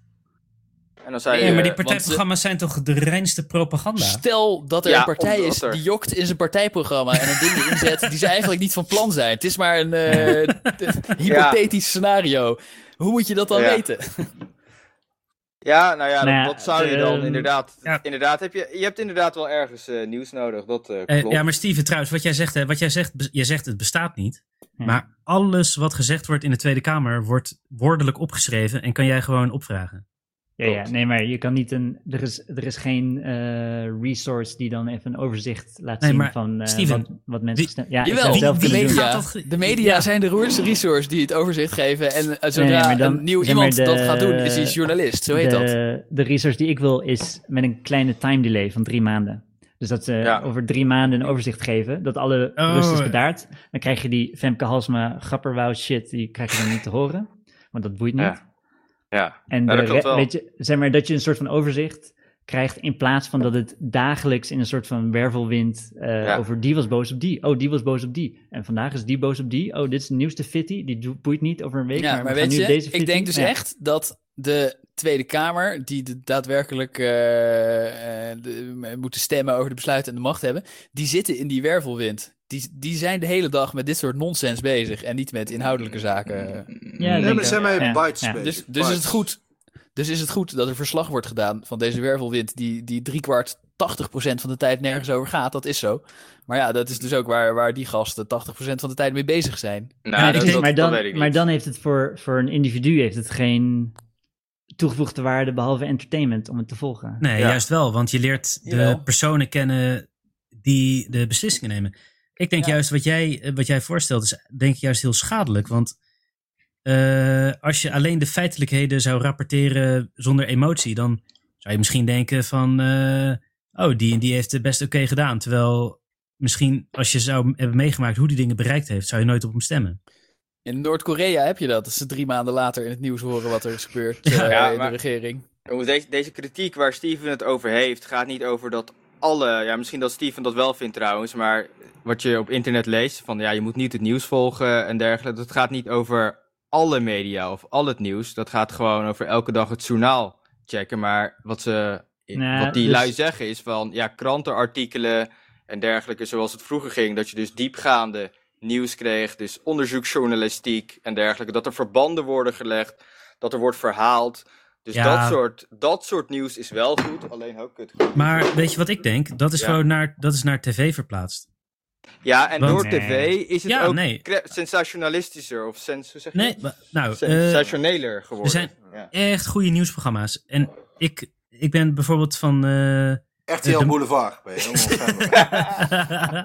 En dan zou je... Nee, maar die Eh, want- partijprogramma's zijn toch de reinste propaganda? Stel dat er Ja, een partij omdat is er- die jokt in zijn partijprogramma en een dingen inzet die ze eigenlijk niet van plan zijn. Het is maar een eh, t- hypothetisch scenario. Hoe moet je dat dan Ja. weten? Ja, nou ja, Nou ja, dat, dat zou je ehm, dan inderdaad... ja. inderdaad heb je, je hebt inderdaad wel ergens eh, nieuws nodig, dat eh, Eh, klopt. ja, maar Steven, trouwens, wat jij zegt, hè, wat jij zegt, be- jij zegt het bestaat niet. Ja. Maar alles wat gezegd wordt in de Tweede Kamer wordt woordelijk opgeschreven en kan jij gewoon opvragen. Ja, Klopt. ja, nee, maar je kan niet een. Er is, er is geen eh, resource die dan even een overzicht laat Nee, zien maar van eh, Steven, wat, wat mensen wie- gestemd- Ja, ik zou Jawel, het zelf de wie- kunnen doen. wie- media, gaat dat- de media Ja. zijn de roerste resource die het overzicht geven. En eh, Nee, zodra maar dan- een nieuw zeg maar iemand de- dat gaat doen, is hij journalist. Zo heet dat. de, de research die ik wil is met een kleine time delay van drie maanden. Dus dat ze Ja. over drie maanden een overzicht geven. Dat alle Oh. rust is bedaard. Dan krijg je die Femke Halsma grapperwauw shit. Die krijg je dan niet te horen. Want dat boeit niet. Ja. Ja. En Ja, de dat klopt re- wel. weet je, zeg maar dat je een soort van overzicht krijgt. In plaats van dat het dagelijks in een soort van wervelwind. eh, Ja. Over die was boos op die. Oh, die was boos op die. En vandaag is die boos op die. Oh, dit is de nieuwste fitty. Die do- boeit niet over een week. Ja, we maar, gaan weet nu je, deze ik fitty- denk dus Ja. echt dat de Tweede Kamer, die de- daadwerkelijk eh, eh, de- m- moeten stemmen over de besluiten en de macht hebben, die zitten in die wervelwind. Die, die zijn de hele dag met dit soort nonsens bezig en niet met inhoudelijke Mm. zaken. Ja, ik Nou, Nee, denk maar zijn dat- wij ja, bites ja. bezig, Dus, dus is het bites. goed. Dus is het goed dat er verslag wordt gedaan van deze wervelwind, die, die driekwart, 80% van de tijd nergens over gaat. Dat is zo. Maar ja, dat is dus ook waar, waar die gasten 80% van de tijd mee bezig zijn. Nou, maar, dat, ik denk- dat- maar, dat dan, weet ik niet. maar dan heeft het voor, voor een individu heeft het geen toegevoegde waarde behalve entertainment om het te volgen. Nee, Ja. juist wel, want je leert de Jawel. personen kennen die de beslissingen nemen. Ik denk Ja. juist wat jij, eh, wat jij voorstelt is denk ik juist heel schadelijk, want eh, als je alleen de feitelijkheden zou rapporteren zonder emotie, dan zou je misschien denken van, eh, oh, die en die heeft het best oké gedaan. Terwijl misschien als je zou hebben meegemaakt hoe die dingen bereikt heeft, zou je nooit op hem stemmen. In Noord-Korea heb je dat. Dat ze drie maanden later in het nieuws horen wat er is gebeurd eh, Ja, in de maar- regering. Jongens, Deze, deze kritiek waar Steven het over heeft, gaat niet over dat alle. Ja, misschien dat Steven dat wel vindt trouwens, maar wat je op internet leest, van ja, je moet niet het nieuws volgen en dergelijke. Dat gaat niet over alle media of al het nieuws. Dat gaat gewoon over elke dag het journaal checken. Maar wat, ze, Nou, wat die dus- lui zeggen is van ja, krantenartikelen en dergelijke, zoals het vroeger ging. Dat je dus diepgaande nieuws kreeg, dus onderzoeksjournalistiek en dergelijke. Dat er verbanden worden gelegd, dat er wordt verhaald. Dus Ja. dat, soort, dat soort nieuws is wel goed, alleen ook kut. Maar weet je wat ik denk? Dat is Ja. gewoon naar, dat is naar tv verplaatst. Ja, en Want- door Nee. tv is het Ja, ook nee. cre- sensationalistischer of sens hoe zeg je Nee, dat? maar- nou, eh, sensationeler geworden. er zijn- Ja. echt goede nieuwsprogramma's. En ik, ik ben bijvoorbeeld van. eh, RTL de- Boulevard. Ben je helemaal fan van.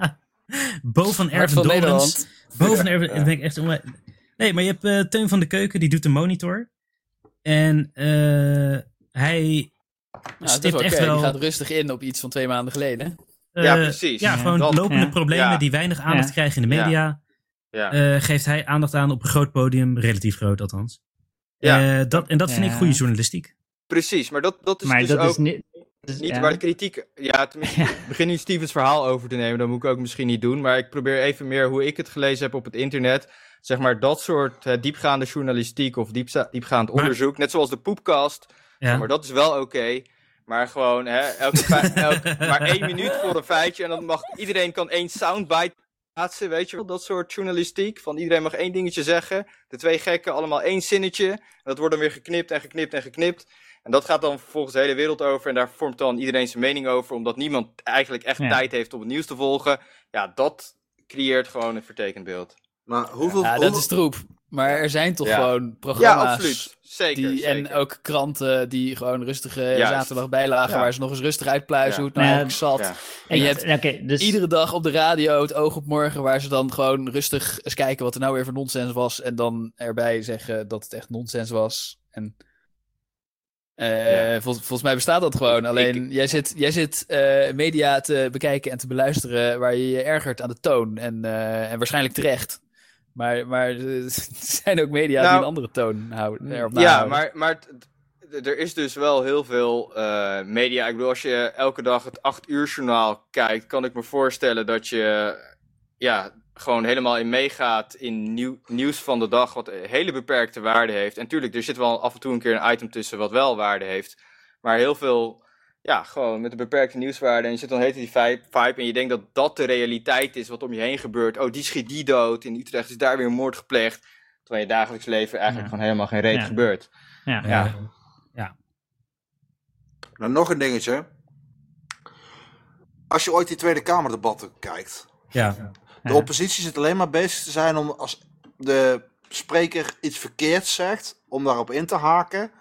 Bo van Hart Erven van Dorens. Nederland. Bo van Erven. ik ben echt onwij- Nee, maar je hebt eh, Teun van de Keuken, die doet de monitor. En eh, hij. Nou, dat is stipt wel echt oké. wel. Die gaat rustig in op iets van twee maanden geleden. eh, Ja, precies. Ja, Ja, gewoon dat- lopende ja. problemen Ja. die weinig aandacht Ja. krijgen in de Ja. media. ja. eh, geeft hij aandacht aan op een groot podium, relatief groot althans. Ja. Eh, dat, en dat vind ik Ja. goede journalistiek. Precies, maar dat, dat is maar dus dat ook is niet. dat is- niet Dus ja. waar de kritiek... Ja, tenminste, Ja. ik begin nu Stevens verhaal over te nemen, dat moet ik ook misschien niet doen. Maar ik probeer even meer hoe ik het gelezen heb op het internet. Zeg maar dat soort eh, diepgaande journalistiek of diepza- diepgaand Maar- onderzoek. Net zoals de poepkast, Ja. Maar dat is wel oké. Maar gewoon, hè, elke fei- elk- maar één minuut voor een feitje. En dan mag iedereen kan één soundbite plaatsen. Weet je wel, dat soort journalistiek. Van iedereen mag één dingetje zeggen. De twee gekken allemaal één zinnetje. En dat wordt dan weer geknipt en geknipt en geknipt. En dat gaat dan vervolgens de hele wereld over. En daar vormt dan iedereen zijn mening over. Omdat niemand eigenlijk echt Ja. tijd heeft om het nieuws te volgen. Ja, dat creëert gewoon een vertekend beeld. Maar hoeveel... Ja, dat hoeveel- is troep. Maar er zijn toch Ja. gewoon Ja, programma's. absoluut. Zeker. Die, En zeker. ook kranten die gewoon rustige Juist. zaterdag bijlagen Ja. waar ze nog eens rustig uitpluizen Ja. hoe het nou Ja. eigenlijk zat. Ja. En je Ik- hebt Oké, dus... iedere dag op de radio het oog op morgen waar ze dan gewoon rustig eens kijken wat er nou weer voor nonsens was. En dan erbij zeggen dat het echt nonsens was. En eh, vol- volgens mij bestaat dat gewoon. Alleen jij zit, jij zit eh, media te bekijken en te beluisteren waar je je ergert aan de toon. En, eh, en waarschijnlijk terecht. Maar, maar er zijn ook media die Nou, mm, een andere toon houden. erop Ja, nahouden. maar, maar t- t- er is dus wel heel veel eh, media. Ik bedoel, als je elke dag het 8 uur journaal kijkt, kan ik me voorstellen dat je ja, gewoon helemaal in meegaat in nieuw, nieuws van de dag, wat een hele beperkte waarde heeft. En tuurlijk, er zit wel af en toe een keer een item tussen wat wel waarde heeft. Maar heel veel, ja, gewoon met een beperkte nieuwswaarde. En je zit dan heet die vi- vibe en je denkt dat dat de realiteit is wat om je heen gebeurt. Oh, die schiet die dood. In Utrecht is daar weer een moord gepleegd. Terwijl in je dagelijks leven eigenlijk Ja. gewoon helemaal geen reet Ja. gebeurt. Ja. Ja. Eh, Nou, nog een dingetje. Als je ooit die Tweede Kamerdebatten kijkt. ja. De Ja. oppositie zit alleen maar bezig te zijn om als de spreker iets verkeerds zegt, om daarop in te haken.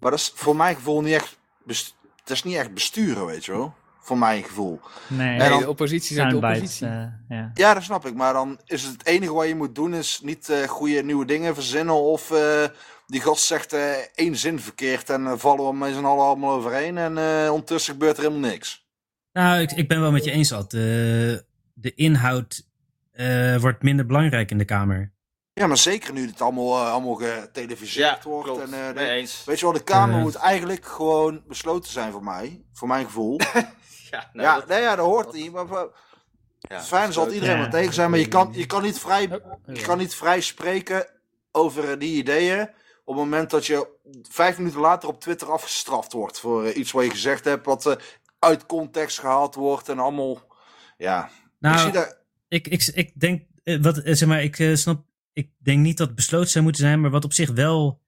Maar dat is voor mijn gevoel niet echt, best- dat is niet echt besturen, weet je wel. Voor mijn gevoel. Nee, Nee, En dan- de oppositie zijn de soundbites. oppositie. eh, ja. Ja, dat snap ik. Maar dan is het, het enige wat je moet doen, is niet eh, goede nieuwe dingen verzinnen. Of eh, die gast zegt eh, één zin verkeerd en eh, vallen we met z'n allen allemaal overheen. En eh, ondertussen gebeurt er helemaal niks. Nou, ik, ik ben wel met je eens, Ad. De, de inhoud eh, wordt minder belangrijk in de Kamer. Ja, maar zeker nu het allemaal, eh, allemaal geteleviseerd wordt. klopt. En, eh, de- Mee eens. Weet je wel, de Kamer Eh. moet eigenlijk gewoon besloten zijn voor mij. Voor mijn gevoel. Ja, nou, ja, dat- nee, ja, dat hoort dat- niet. Maar, maar, ja, fijn zal dat- iedereen Ja. maar tegen zijn. Maar je kan, je, kan niet vrij, je kan niet vrij spreken over eh, die ideeën. Op het moment dat je vijf minuten later op Twitter afgestraft wordt. Voor eh, iets wat je gezegd hebt. Wat eh, uit context gehaald wordt. En allemaal... Ja, ik Nou, zie daar... ik, ik, ik denk, eh, wat, eh, zeg maar, ik eh, snap, ik denk niet dat het besloten zou moeten zijn, maar wat op zich wel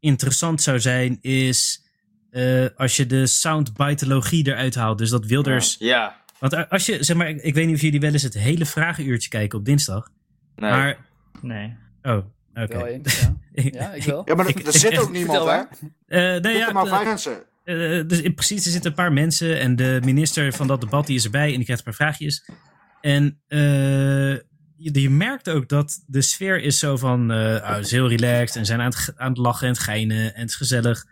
interessant zou zijn, is eh, als je de soundbitologie eruit haalt. Dus dat Wilders. Ja, Want a- als je, zeg maar, ik, ik weet niet of jullie wel eens het hele vragenuurtje kijken op dinsdag. nee. Maar, Nee. oh, oké. Wel eens, ja. ja, ik wel. Ja, maar Ik- er- er zit ook niemand, Vertel hè? maar. Er Eh, nee, zitten ja, maar eh, vijf mensen. eh, dus in, precies, er zitten een paar mensen en de minister van dat debat die is erbij en die krijgt een paar vraagjes. En eh, je, je merkt ook dat de sfeer is zo van, eh oh, het is heel relaxed en ze zijn aan het, ge- aan het lachen en het geinen en het is gezellig.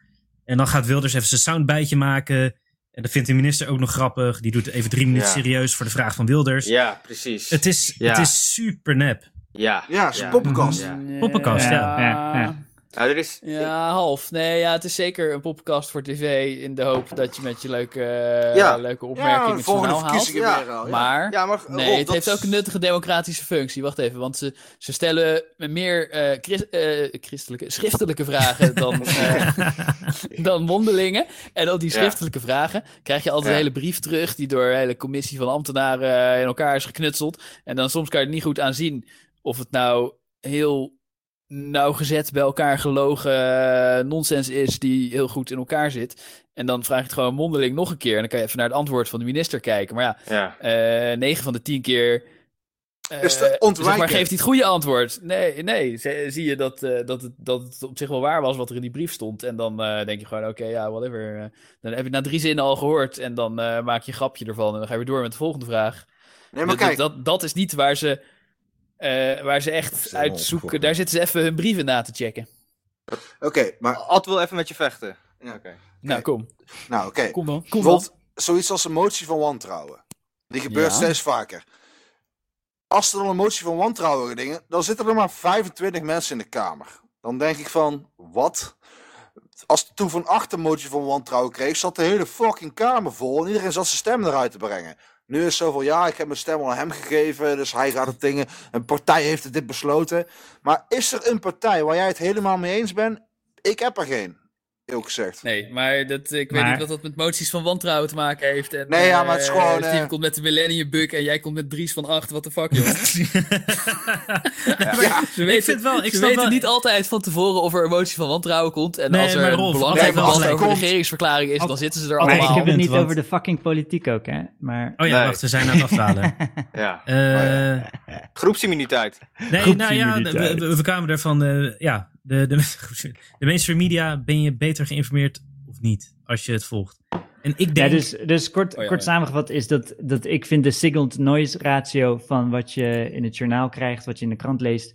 En dan gaat Wilders even zijn soundbijtje maken en dat vindt de minister ook nog grappig. Die doet even drie minuten Ja. serieus voor de vraag van Wilders. Ja, precies. Het is, Ja. het is super nep. Ja. Ja, het is een poppenkast. Ja. Poppenkast, ja. Ja, ja. Nou, er is... Ja, half. Nee, ja, het is zeker een podcast voor tv in de hoop dat je met je leuke, eh, Ja. leuke opmerking Ja, het volgende journaal haalt. verkiezingen haalt. weer al. ja. Maar, Ja, maar... nee, Rob, het dat heeft is- ook een nuttige democratische functie. Wacht even, want ze, ze stellen meer eh, chris- eh, christelijke, schriftelijke vragen dan, eh, dan mondelingen. En al die Ja. schriftelijke vragen krijg je altijd Ja. een hele brief terug... die door een hele commissie van ambtenaren eh, in elkaar is geknutseld. En dan soms kan je er niet goed aan zien of het nou heel nauwgezet bij elkaar gelogen eh, nonsens is... die heel goed in elkaar zit. En dan vraag je het gewoon mondeling nog een keer. En dan kan je even naar het antwoord van de minister kijken. Maar ja, Ja. eh 9 van de 10 keer. eh, Is te ontwijken. zeg maar geeft hij het goede antwoord? Nee, nee. Ze- zie je dat, eh, dat, het, dat het op zich wel waar was wat er in die brief stond. En dan eh, denk je gewoon, oké, ja, whatever. Eh, dan heb je na drie zinnen al gehoord. En dan eh, maak je een grapje ervan. En dan ga je weer door met de volgende vraag. Nee, maar dat, kijk. dat, dat is niet waar ze, eh, waar ze is echt helemaal uitzoeken. opgefokt. Daar zitten ze even hun brieven na te checken. Oké, maar... Ad wil even met je vechten. Ja. Oké. Nou, kom. Nou, oké. Kom dan. Kom dan. Bijvoorbeeld zoiets als een motie van wantrouwen. Die gebeurt Ja. steeds vaker. Als er dan een motie van wantrouwen gedingen, dan zitten er maar 25 mensen in de Kamer. Dan denk ik van, wat? Als toen Van Acht een motie van wantrouwen kreeg, zat de hele fucking Kamer vol. En iedereen zat zijn stem eruit te brengen. Nu is het zo van, ja, ik heb mijn stem al aan hem gegeven, dus hij gaat het dingen. Een partij heeft dit besloten. Maar is er een partij waar jij het helemaal mee eens bent? Ik heb er geen. heel gezegd. Nee, maar dat, ik weet Maar- niet wat dat met moties van wantrouwen te maken heeft. En, Nee, ja, maar het is eh, gewoon, Steven eh, komt met de Millennium Bug en jij komt met Dries van 8. Wat de fuck, joh. Ze weten, vind wel- ik ze snap weten wel- niet altijd van tevoren of er emotie van wantrouwen komt. En Nee, als er maar een Rolf, belangrijk nee, maar debat als hij over de komt- regeringsverklaring is, Als- dan zitten ze er als- ik allemaal. heb het niet want- over de fucking politiek ook, hè. Maar... Oh ja, Nee. Oh wacht, we zijn aan het afdalen. Ja. Eh, Groepsimmuniteit. nee, nou ja, we, Groepsimmuniteit. we- we kwamen ervan. eh, ja, de, de, de mainstream media ben je beter geïnformeerd of niet als je het volgt. En ik Ja, denk. dus, dus kort, Oh ja, kort ja. samengevat is dat, dat ik vind de signal-to-noise ratio van wat je in het journaal krijgt, wat je in de krant leest,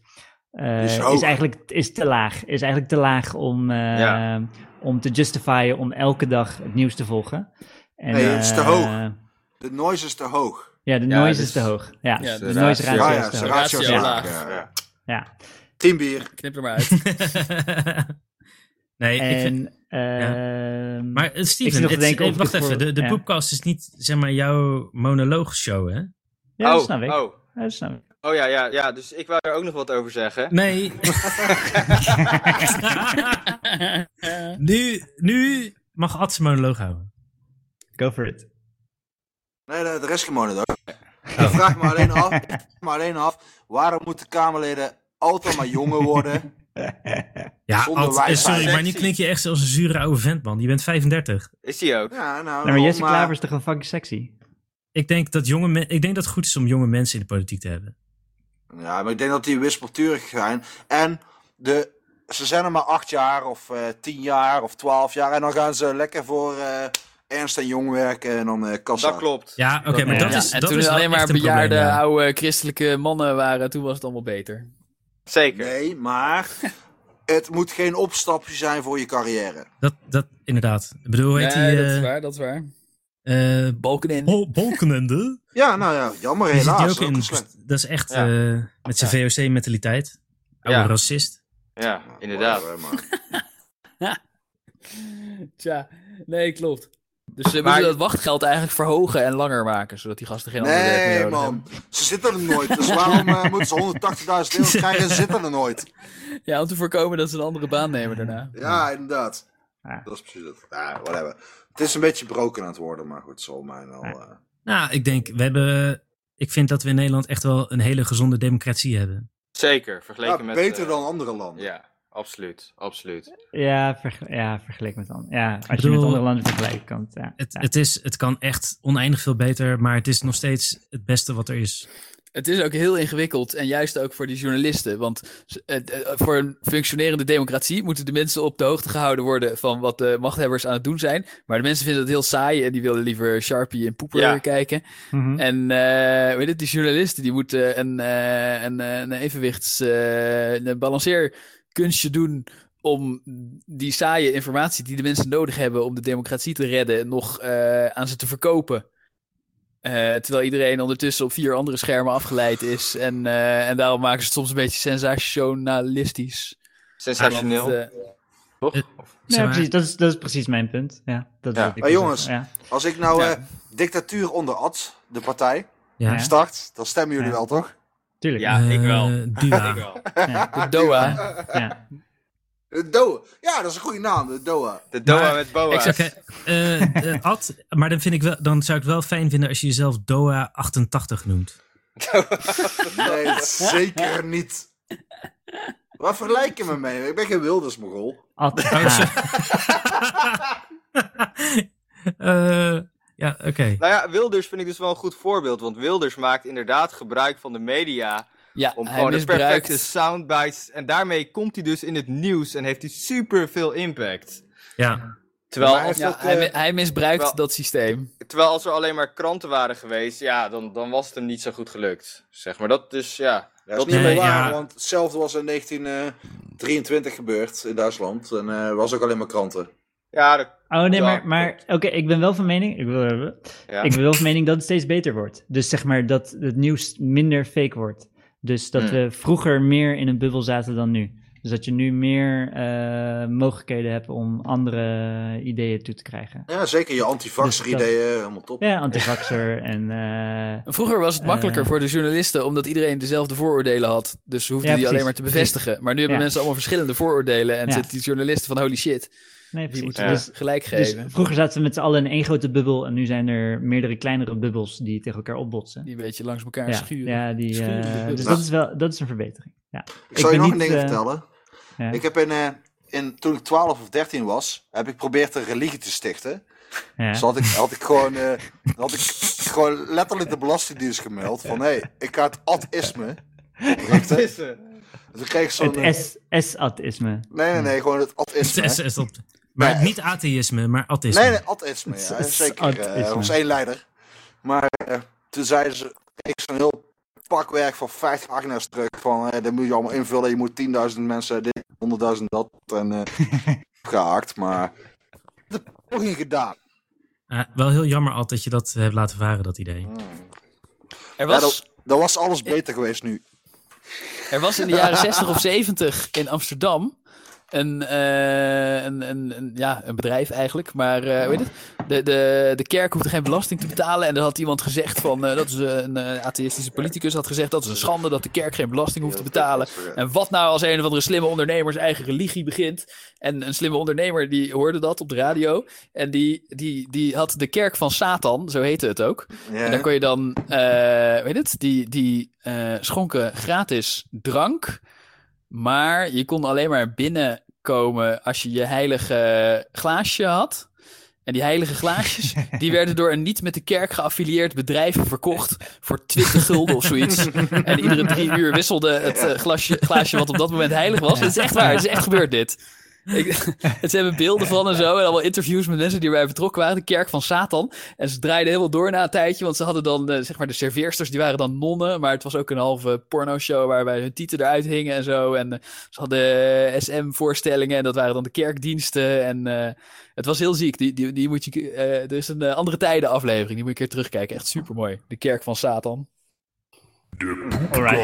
eh, Is is, hoog. eigenlijk is te laag. Is eigenlijk te laag om, eh, Ja. om te justifyen om elke dag het nieuws te volgen. En, Nee, het is te eh, hoog. De noise is te hoog. Ja, de Ja, noise dus- is te hoog. Ah, Ja, Ja, de dus- noise ratio Ja, is ja, te zijn hoog. raad- ratio is Ratio laag. laag. ja, ja. Ja. Tien bier. Knip er maar uit. nee, ik vind, En, ehm, maar eh, ik zit nog Steven, te het- denken of eh, ik wacht het even. voor- De, de ja. Poepcast is niet zeg maar jouw monoloogshow, hè? ja, dat oh, snap ik. oh. Ja, dat snap ik. Oh ja, ja, ja, dus ik wou er ook nog wat over zeggen. Nee. nu, nu mag Ad zijn monoloog houden. Go for it. Nee, de, de rest gewoon ook. Ik vraag me alleen af, ik vraag me alleen af, waarom moeten Kamerleden altijd maar jonger worden? Ja, Zonder Ad, eh, sorry, wijsheid. maar nu klink je echt als een zure oude vent, man. Je bent 35. Is die ook? Ja, nou, Nou, maar Jesse maar- Klaver is toch wel fucking sexy? Ik denk dat, jonge men- ik denk dat het goed is om jonge mensen in de politiek te hebben. Ja, maar ik denk dat die wispelturig zijn. En de, ze zijn er maar acht jaar of eh tien jaar of twaalf jaar. En dan gaan ze lekker voor eh, Ernst en Jong werken en dan eh kassa. Dat klopt. Ja, oké, maar Ja, dat Ja, is, en dat toen is er wel alleen maar echt een probleem, bejaarde ja. oude christelijke mannen waren, toen was het allemaal beter. Zeker. Nee, maar het moet geen opstapje zijn voor je carrière. Dat, dat, inderdaad. Ik bedoel, hoe heet nee, die... dat is eh waar, dat is waar. eh Balken in. Bol- Bolkenende? Ja, nou ja, jammer Die zit helaas. die Dat ook is ook in. een slecht- Dat is echt Ja. eh, met zijn VOC-mentaliteit. Oude Ja. racist. Ja, inderdaad. Whatever, maar- Tja, nee, klopt. Dus we Maar- moeten dat wachtgeld eigenlijk verhogen en langer maken, zodat die gasten geen ander werk meer Nee, nodig man. hebben. Ze zitten er nooit. Dus waarom eh, moeten ze 180.000 euro krijgen en ze zitten er nooit? Ja, om te voorkomen dat ze een andere baan nemen daarna. Ja, inderdaad. Ja. Dat is precies het. Ja, whatever. Het is een beetje broken aan het worden, maar goed, zal mij wel... eh, Nou, ik denk, we hebben... eh, Ik vind dat we in Nederland echt wel een hele gezonde democratie hebben. Zeker, vergeleken ja, met... beter eh, dan andere landen. Ja, absoluut, absoluut. Ja, verge- ja vergeleken met anderen. Ja, als je bedoel- met andere landen vergelijkt. Kan het, ja. Het, Ja. het, is, het kan echt oneindig veel beter, maar het is nog steeds het beste wat er is. Het is ook heel ingewikkeld en juist ook voor die journalisten. Want ze- het- eh, voor een functionerende democratie moeten de mensen op de hoogte gehouden worden van wat de machthebbers aan het doen zijn. Maar de mensen vinden het heel saai en die willen liever Sharpie en Poeper Ja. kijken. Mhm. En eh, weet het, die journalisten die moeten een, eh, een, eh, een evenwichts, eh, een balanceerkunstje doen om die saaie informatie die de mensen nodig hebben om de democratie te redden nog eh, aan ze te verkopen. Eh, terwijl iedereen ondertussen op vier andere schermen afgeleid is. En, eh, en daarom maken ze het soms een beetje sensationalistisch. Sensationeel. Want, eh, toch? eh, Ja, Zeg maar, precies, dat, is, dat is precies mijn punt. Ja, dat Ja. Oh, wilde ik Maar wel jongens, zeggen, ja. Als ik nou Ja. eh, dictatuur onder Ad, de partij, ja. Ja. start, dan stemmen jullie Ja. wel, toch? tuurlijk. Ja, ik wel. Eh, Dua. de Doha. Ja. De Eh, Doha. Ja, dat is een goede naam, de Doha. De Doha Maar- met Boa. Exact. eh, eh, Ad, maar dan, vind ik wel, dan zou ik het wel fijn vinden als je jezelf Doha 88 noemt. Nee, zeker niet. Waar vergelijk je me mee? Ik ben geen Wilders-mogol. Ad- Oh, ah, sorry. Eh, ja, oké. Nou ja, Wilders vind ik dus wel een goed voorbeeld. Want Wilders maakt inderdaad gebruik van de media. Ja, Om hij gewoon de misbruikt... perfecte soundbites. En daarmee komt hij dus in het nieuws en heeft hij superveel impact. Ja. Terwijl, Maar hij als- Ja, dat, hij, eh, mi- hij misbruikt wel- dat systeem. terwijl als er alleen maar kranten waren geweest, ja, dan, dan was het hem niet zo goed gelukt. Zeg maar dat, dus ja. Ja, Dat dat is niet nee, meer waar, ja. want hetzelfde was in 1923 gebeurd in Duitsland. En eh, was ook alleen maar kranten. Ja, dat- Oh nee, Ja, maar, maar oké, ik ben wel van mening. Ik, wil, ja. ik ben wel van mening dat het steeds beter wordt. Dus zeg maar dat het nieuws minder fake wordt. Dus dat Hmm. we vroeger meer in een bubbel zaten dan nu. Dus dat je nu meer eh, mogelijkheden hebt om andere ideeën toe te krijgen. Ja, zeker je antivaxer-ideeën, helemaal top. Ja, antivaxer en eh, Vroeger was het makkelijker Eh. voor de journalisten, omdat iedereen dezelfde vooroordelen had. Dus ze hoefden Ja, die alleen precies. maar te bevestigen. Maar nu hebben Ja. mensen allemaal verschillende vooroordelen. En Ja. zitten die journalisten van holy shit. Nee, Die precies. moeten we Ja. Dus, gelijk dus geven. vroeger zaten we met z'n allen in één grote bubbel en nu zijn er meerdere kleinere bubbels die tegen elkaar opbotsen. Die een beetje langs elkaar ja, schuren. ja, die, eh, Schuren de bubbels. dus dat is wel dat is een verbetering. Ja. Ik, zal je ben nog niet, een ding eh, vertellen. ja. Ik heb in, eh, in, toen ik 12 of 13 was, heb ik geprobeerd een religie te stichten. Ja. Dus had ik, had ik, gewoon, eh, had ik gewoon letterlijk de Belastingdienst gemeld. Van hé, hey, ik ga het atheïsme richten. Is ze? Dus ik kreeg zo'n... Het S- S-atheïsme. Nee, nee, nee, gewoon het Het atheïsme. is- hè. is dat- Maar Nee. niet atheïsme, maar atheïsme. Nee, nee, atheïsme. Het Ja, is zeker. eh, atheïsme. Er was één leider. Maar eh, toen zeiden ze, ik zo'n heel pakwerk van 50 pagina's terug. Van, eh dat moet je allemaal invullen. Je moet 10.000 mensen dit, 100.000 dat. En eh gehaakt, maar... Dat heb ik ook niet gedaan. Ah, wel heel jammer altijd dat je dat hebt laten varen, dat idee. Oh. Er Ja, was, dat, dat was alles beter geweest nu. er was in de jaren 60 of 70 in Amsterdam een, eh, een, een, een- ja, een bedrijf eigenlijk. Maar eh, hoe heet het? De, de, de kerk hoefde geen belasting te betalen. En er had iemand gezegd van, eh, dat is een eh, atheïstische politicus, had gezegd dat is een schande dat de kerk geen belasting hoeft te betalen. En wat nou als een of andere slimme ondernemer zijn eigen religie begint? En een slimme ondernemer die hoorde dat op de radio. En die, die, die had de kerk van Satan, zo heette het ook. En daar kon je dan, eh weet het, die, die eh, schonken gratis drank. Maar je kon alleen maar binnenkomen als je je heilige glaasje had. En die heilige glaasjes, die werden door een niet met de kerk geaffilieerd bedrijf verkocht voor 20 gulden of zoiets. En iedere drie uur wisselde het eh, glasje, glaasje wat op dat moment heilig was. Het is echt waar, het is echt gebeurd dit. Ik, het hebben beelden van en zo. En allemaal interviews met mensen die erbij betrokken waren. De kerk van Satan. En ze draaiden helemaal door na een tijdje. Want ze hadden dan, eh, zeg maar, de serveersters, die waren dan nonnen. Maar het was ook een halve pornoshow waarbij hun tieten eruit hingen en zo. En eh, ze hadden eh, SM-voorstellingen. En dat waren dan de kerkdiensten. En eh, het was heel ziek. Die, die, die moet je, eh, er is een eh, andere tijden aflevering. Die moet je een keer terugkijken. Echt supermooi. De kerk van Satan. Alright.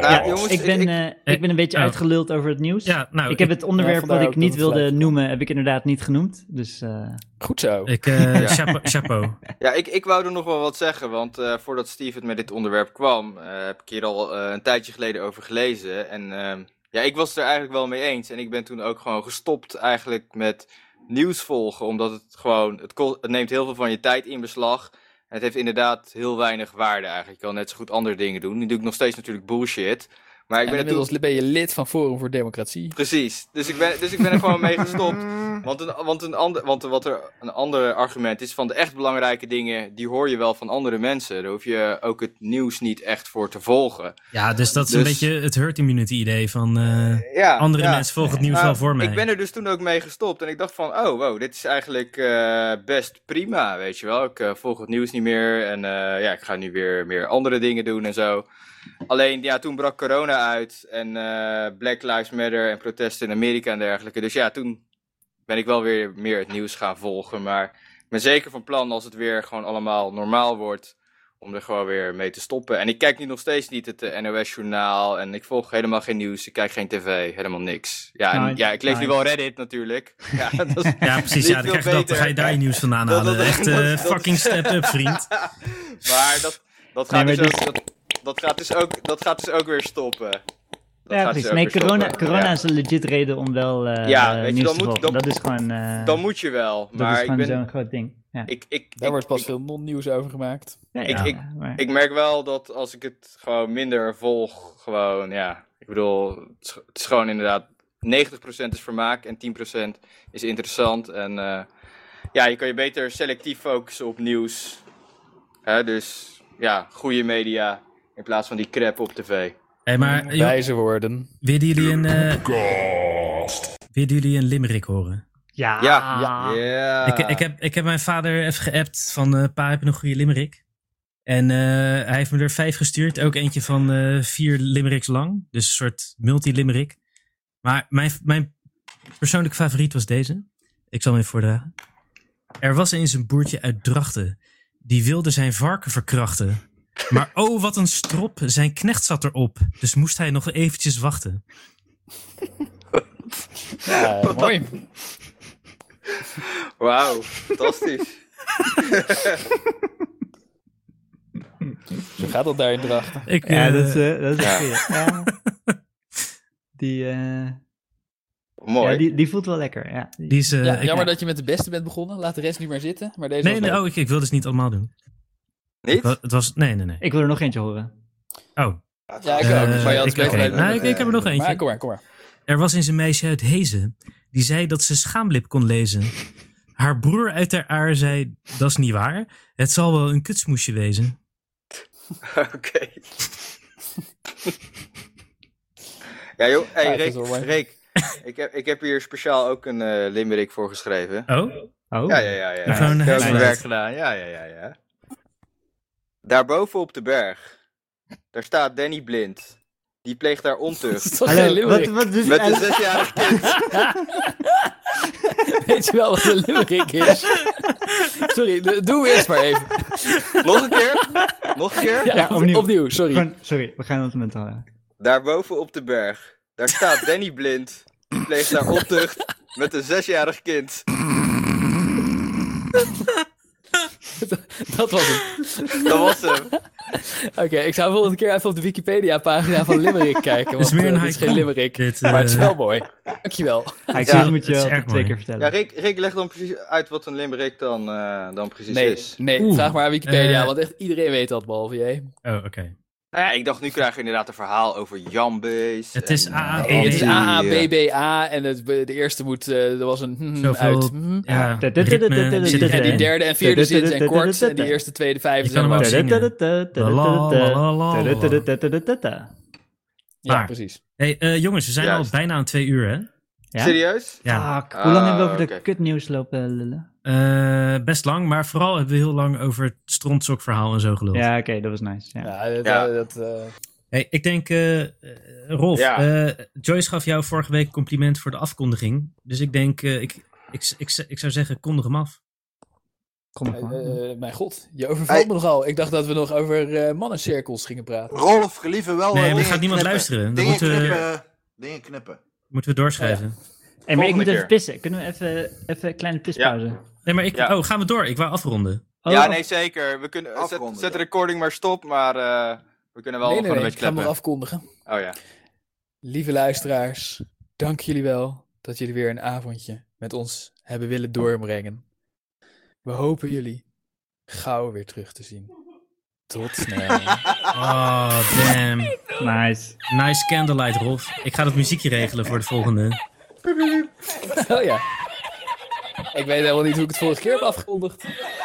Nou, Ja, jongens, ik, ben, ik- Oh. eh, ik ben een beetje Ja. uitgeluld over het nieuws. Ja, nou, ik heb het Ja, onderwerp vandaar wat ik ook dat niet het wilde gelijk kwam. noemen, heb ik inderdaad niet genoemd. Dus eh, Goed zo. ik, eh, Ja. chapeau. chapeau. Ja, ik, ik wou er nog wel wat zeggen, want eh, voordat Steve het met dit onderwerp kwam, eh, heb ik hier al eh, een tijdje geleden over gelezen. En ehm, ja, ik was het er eigenlijk wel mee eens. En ik ben toen ook gewoon gestopt eigenlijk met nieuws volgen, omdat het gewoon, het, ko- het neemt heel veel van je tijd in beslag. En het heeft inderdaad heel weinig waarde eigenlijk. Je kan net zo goed andere dingen doen. Nu doe ik nog steeds natuurlijk bullshit. Maar ik En ben er toen- inmiddels ben je lid van Forum voor Democratie. Precies. Dus ik ben, dus ik ben er gewoon mee gestopt. Want, een, want, een ander, want wat er een ander argument is van de echt belangrijke dingen, die hoor je wel van andere mensen. Daar hoef je ook het nieuws niet echt voor te volgen. Ja, dus dat is een Dus- beetje het herd immunity idee van eh, Ja, andere ja. mensen volgen het nieuws Nou, wel voor mij. Ik ben er dus toen ook mee gestopt. En ik dacht van, oh wow, dit is eigenlijk eh, best prima, weet je wel. Ik eh, volg het nieuws niet meer en eh, ja, ik ga nu weer meer andere dingen doen en zo. Alleen, ja, toen brak corona uit en eh, Black Lives Matter en protesten in Amerika en dergelijke. Dus ja, toen ben ik wel weer meer het nieuws gaan volgen. Maar ik ben zeker van plan als het weer gewoon allemaal normaal wordt... Om er gewoon weer mee te stoppen. En ik kijk nu nog steeds niet het eh, NOS-journaal. En ik volg helemaal geen nieuws. Ik kijk geen tv. Helemaal niks. Ja, en- Nice, ja ik lees nu nice. wel Reddit natuurlijk. Ja, dat is, ja, precies. Ja, Niet dan, veel krijg je dat, dan beter. ga je daar je nieuws vandaan Dat- halen. dat- Echt dat- eh, dat- fucking step up, vriend. maar dat, dat, Nee, gaat maar dus ook, dat, dat gaat dus ook, dat gaat dus ook weer stoppen. Dat ja, gaat dus precies. ook Nee, weer corona, stoppen. corona Ja. is een legit reden om wel eh Ja, eh, weet je, nieuws dan te moet- volgen. dan- dat is gewoon, eh, Dan moet je wel. dat is Maar ik gewoon ben... zo'n groot ding. Ja. Ik, ik, Daar ik- wordt pas ik- veel non-nieuws over gemaakt. Ja, ik- ja, ik- maar- Ik merk wel dat als ik het gewoon minder volg, gewoon, ja. Ik bedoel, het is, het is gewoon inderdaad, 90% is vermaak en 10% is interessant. En eh, ja, je kan je beter selectief focussen op nieuws. Hè, dus ja, goede media in plaats van die crap op tv. Hey, maar joh, Wijze woorden. willen jullie een... eh, willen jullie een limerick horen? ja, Ja, ja. Ik, ik, heb, ik heb mijn vader even geappt van... eh pa, heb je nog een goede limerick? En eh, hij heeft me er vijf gestuurd. Ook eentje van eh, vier limericks lang. Dus een soort multi-limerick. Maar mijn, mijn persoonlijke favoriet was deze. Ik zal hem even voordragen. Er was eens een boertje uit Drachten. Die wilde zijn varken verkrachten. Maar oh, wat een strop. Zijn knecht zat erop. Dus moest hij nog eventjes wachten. Ja, mooi. Wauw, fantastisch. Zo gaat dat daar in Drachten. Ik, Ja, eh, dat is, eh, dat is ja. een goeie. Ja. Die, eh, Mooi. Ja, die, die voelt wel lekker, ja. Die is, eh, Ja, ik- jammer dat je met de beste bent begonnen. Laat de rest niet meer zitten. Maar deze Nee, was nee leuk. oh, ik, ik wil dus niet allemaal doen. Niet? Ik wa- het was, nee, nee, nee. Ik wil er nog eentje horen. Oh, Ja, ik eh, ook. Maar je had ik- het beter oké. weten. Nou, ik, ik heb er nog Maar eentje. kom maar, kom maar. Er was eens een meisje uit Hezen die zei dat ze schaamlip kon lezen. Haar broer uit haar aar zei, dat is niet waar. Het zal wel een kutsmoesje wezen. Oké. ja, joh. Ja, Hey, het Rick, is wel mooi. Rick. Ik, heb, ik heb hier speciaal ook een eh limerick voor geschreven. Oh, Oh, Ja, ja, ja. ja. Even een ik heb ook mijn huiswerk. werk gedaan. Ja, ja, ja, ja. Daarboven op de berg, daar staat Danny Blind. Die pleegt daar Dat ontucht. is toch geen Hallo, wat, limerick? wat dus Met een eigenlijk- zesjarig kind. Weet je wel wat een limerick is? Sorry, de- doe eerst maar even. Nog een keer? Nog een keer? Ja, Ja, opnieuw. opnieuw. sorry. Gewoon- sorry, we gaan het moment halen. Daarboven op de berg, daar staat Danny Blind. Die pleegt daar ontucht met een zesjarig kind. Dat was het. Dat was hem. Oké, ik zou volgende keer even op de Wikipedia-pagina van limerick kijken. Want is meer een eh, dit is haiku. geen limerick. dit Maar het is eh, wel mooi. Dankjewel. Ik Ja, moet je het is wel erg twee mooi. keer Ja, vertellen. Rick, Rick leg dan precies uit wat een limerick dan, eh, dan precies Nee, is. nee Oeh. vraag maar aan Wikipedia, Eh. want echt iedereen weet dat, behalve jij. oh oké. Nou ja, ik dacht, nu krijgen we inderdaad een verhaal over Jambes. Het is en, AA. eh, Nee, het is nee. AABBA en het, de eerste moet, eh, er was een hmm Zoveel- uit. hmm. Ja, Ja. ritme zit En die erin. derde en vierde zin zijn kort. En die eerste, tweede, vijfde Je kan zijn hem ook lang. zingen. Ja, Maar- precies. Hey, eh, jongens, we zijn Juist. al bijna aan twee uur, hè? Ja? Serieus? Ja. Fuck, hoe lang hebben we over Ah, de oké. kutnieuws lopen lullen? Eh, best lang, maar vooral hebben we heel lang over het strontzokverhaal en zo geluld. Ja, oké, dat was nice. Ja. Ja, dat, Ja. eh, dat, eh, Hey, ik denk, eh, eh, Rolf, Ja. eh, Joyce gaf jou vorige week compliment voor de afkondiging. Dus ik denk, eh, ik, ik, ik, ik zou zeggen, kondig hem af. Kom maar gewoon. eh, eh, mijn god, je overvalt Hey. me nogal. Ik dacht dat we nog over eh mannencirkels gingen praten. Rolf, gelieve wel. Nee, eh, maar dingen gaat niemand knippen. luisteren. Dan Dingen moeten we- knippen. Dingen knippen. Moeten we doorschrijven. Hey, maar ik moet volgende even pissen. Kunnen we even, even een kleine pispauze? Nee, maar ik, Ja. oh, gaan we door. Ik wou afronden. Oh, ja, oh, nee, zeker. We kunnen, eh, zet, Afronden, zet de ja. recording maar stop, maar eh, we kunnen wel nee, gewoon nee, nee, een ik ga beetje hem nog kleppen. afkondigen. Oh ja. Lieve luisteraars, dank jullie wel dat jullie weer een avondje met ons hebben willen doorbrengen. We hopen jullie gauw weer terug te zien. Tot snel. Oh, damn. Nice. Nice candlelight, Rolf. Ik ga dat muziekje regelen voor de volgende. oh ja. Ik weet helemaal niet hoe ik het vorige keer heb afgekondigd.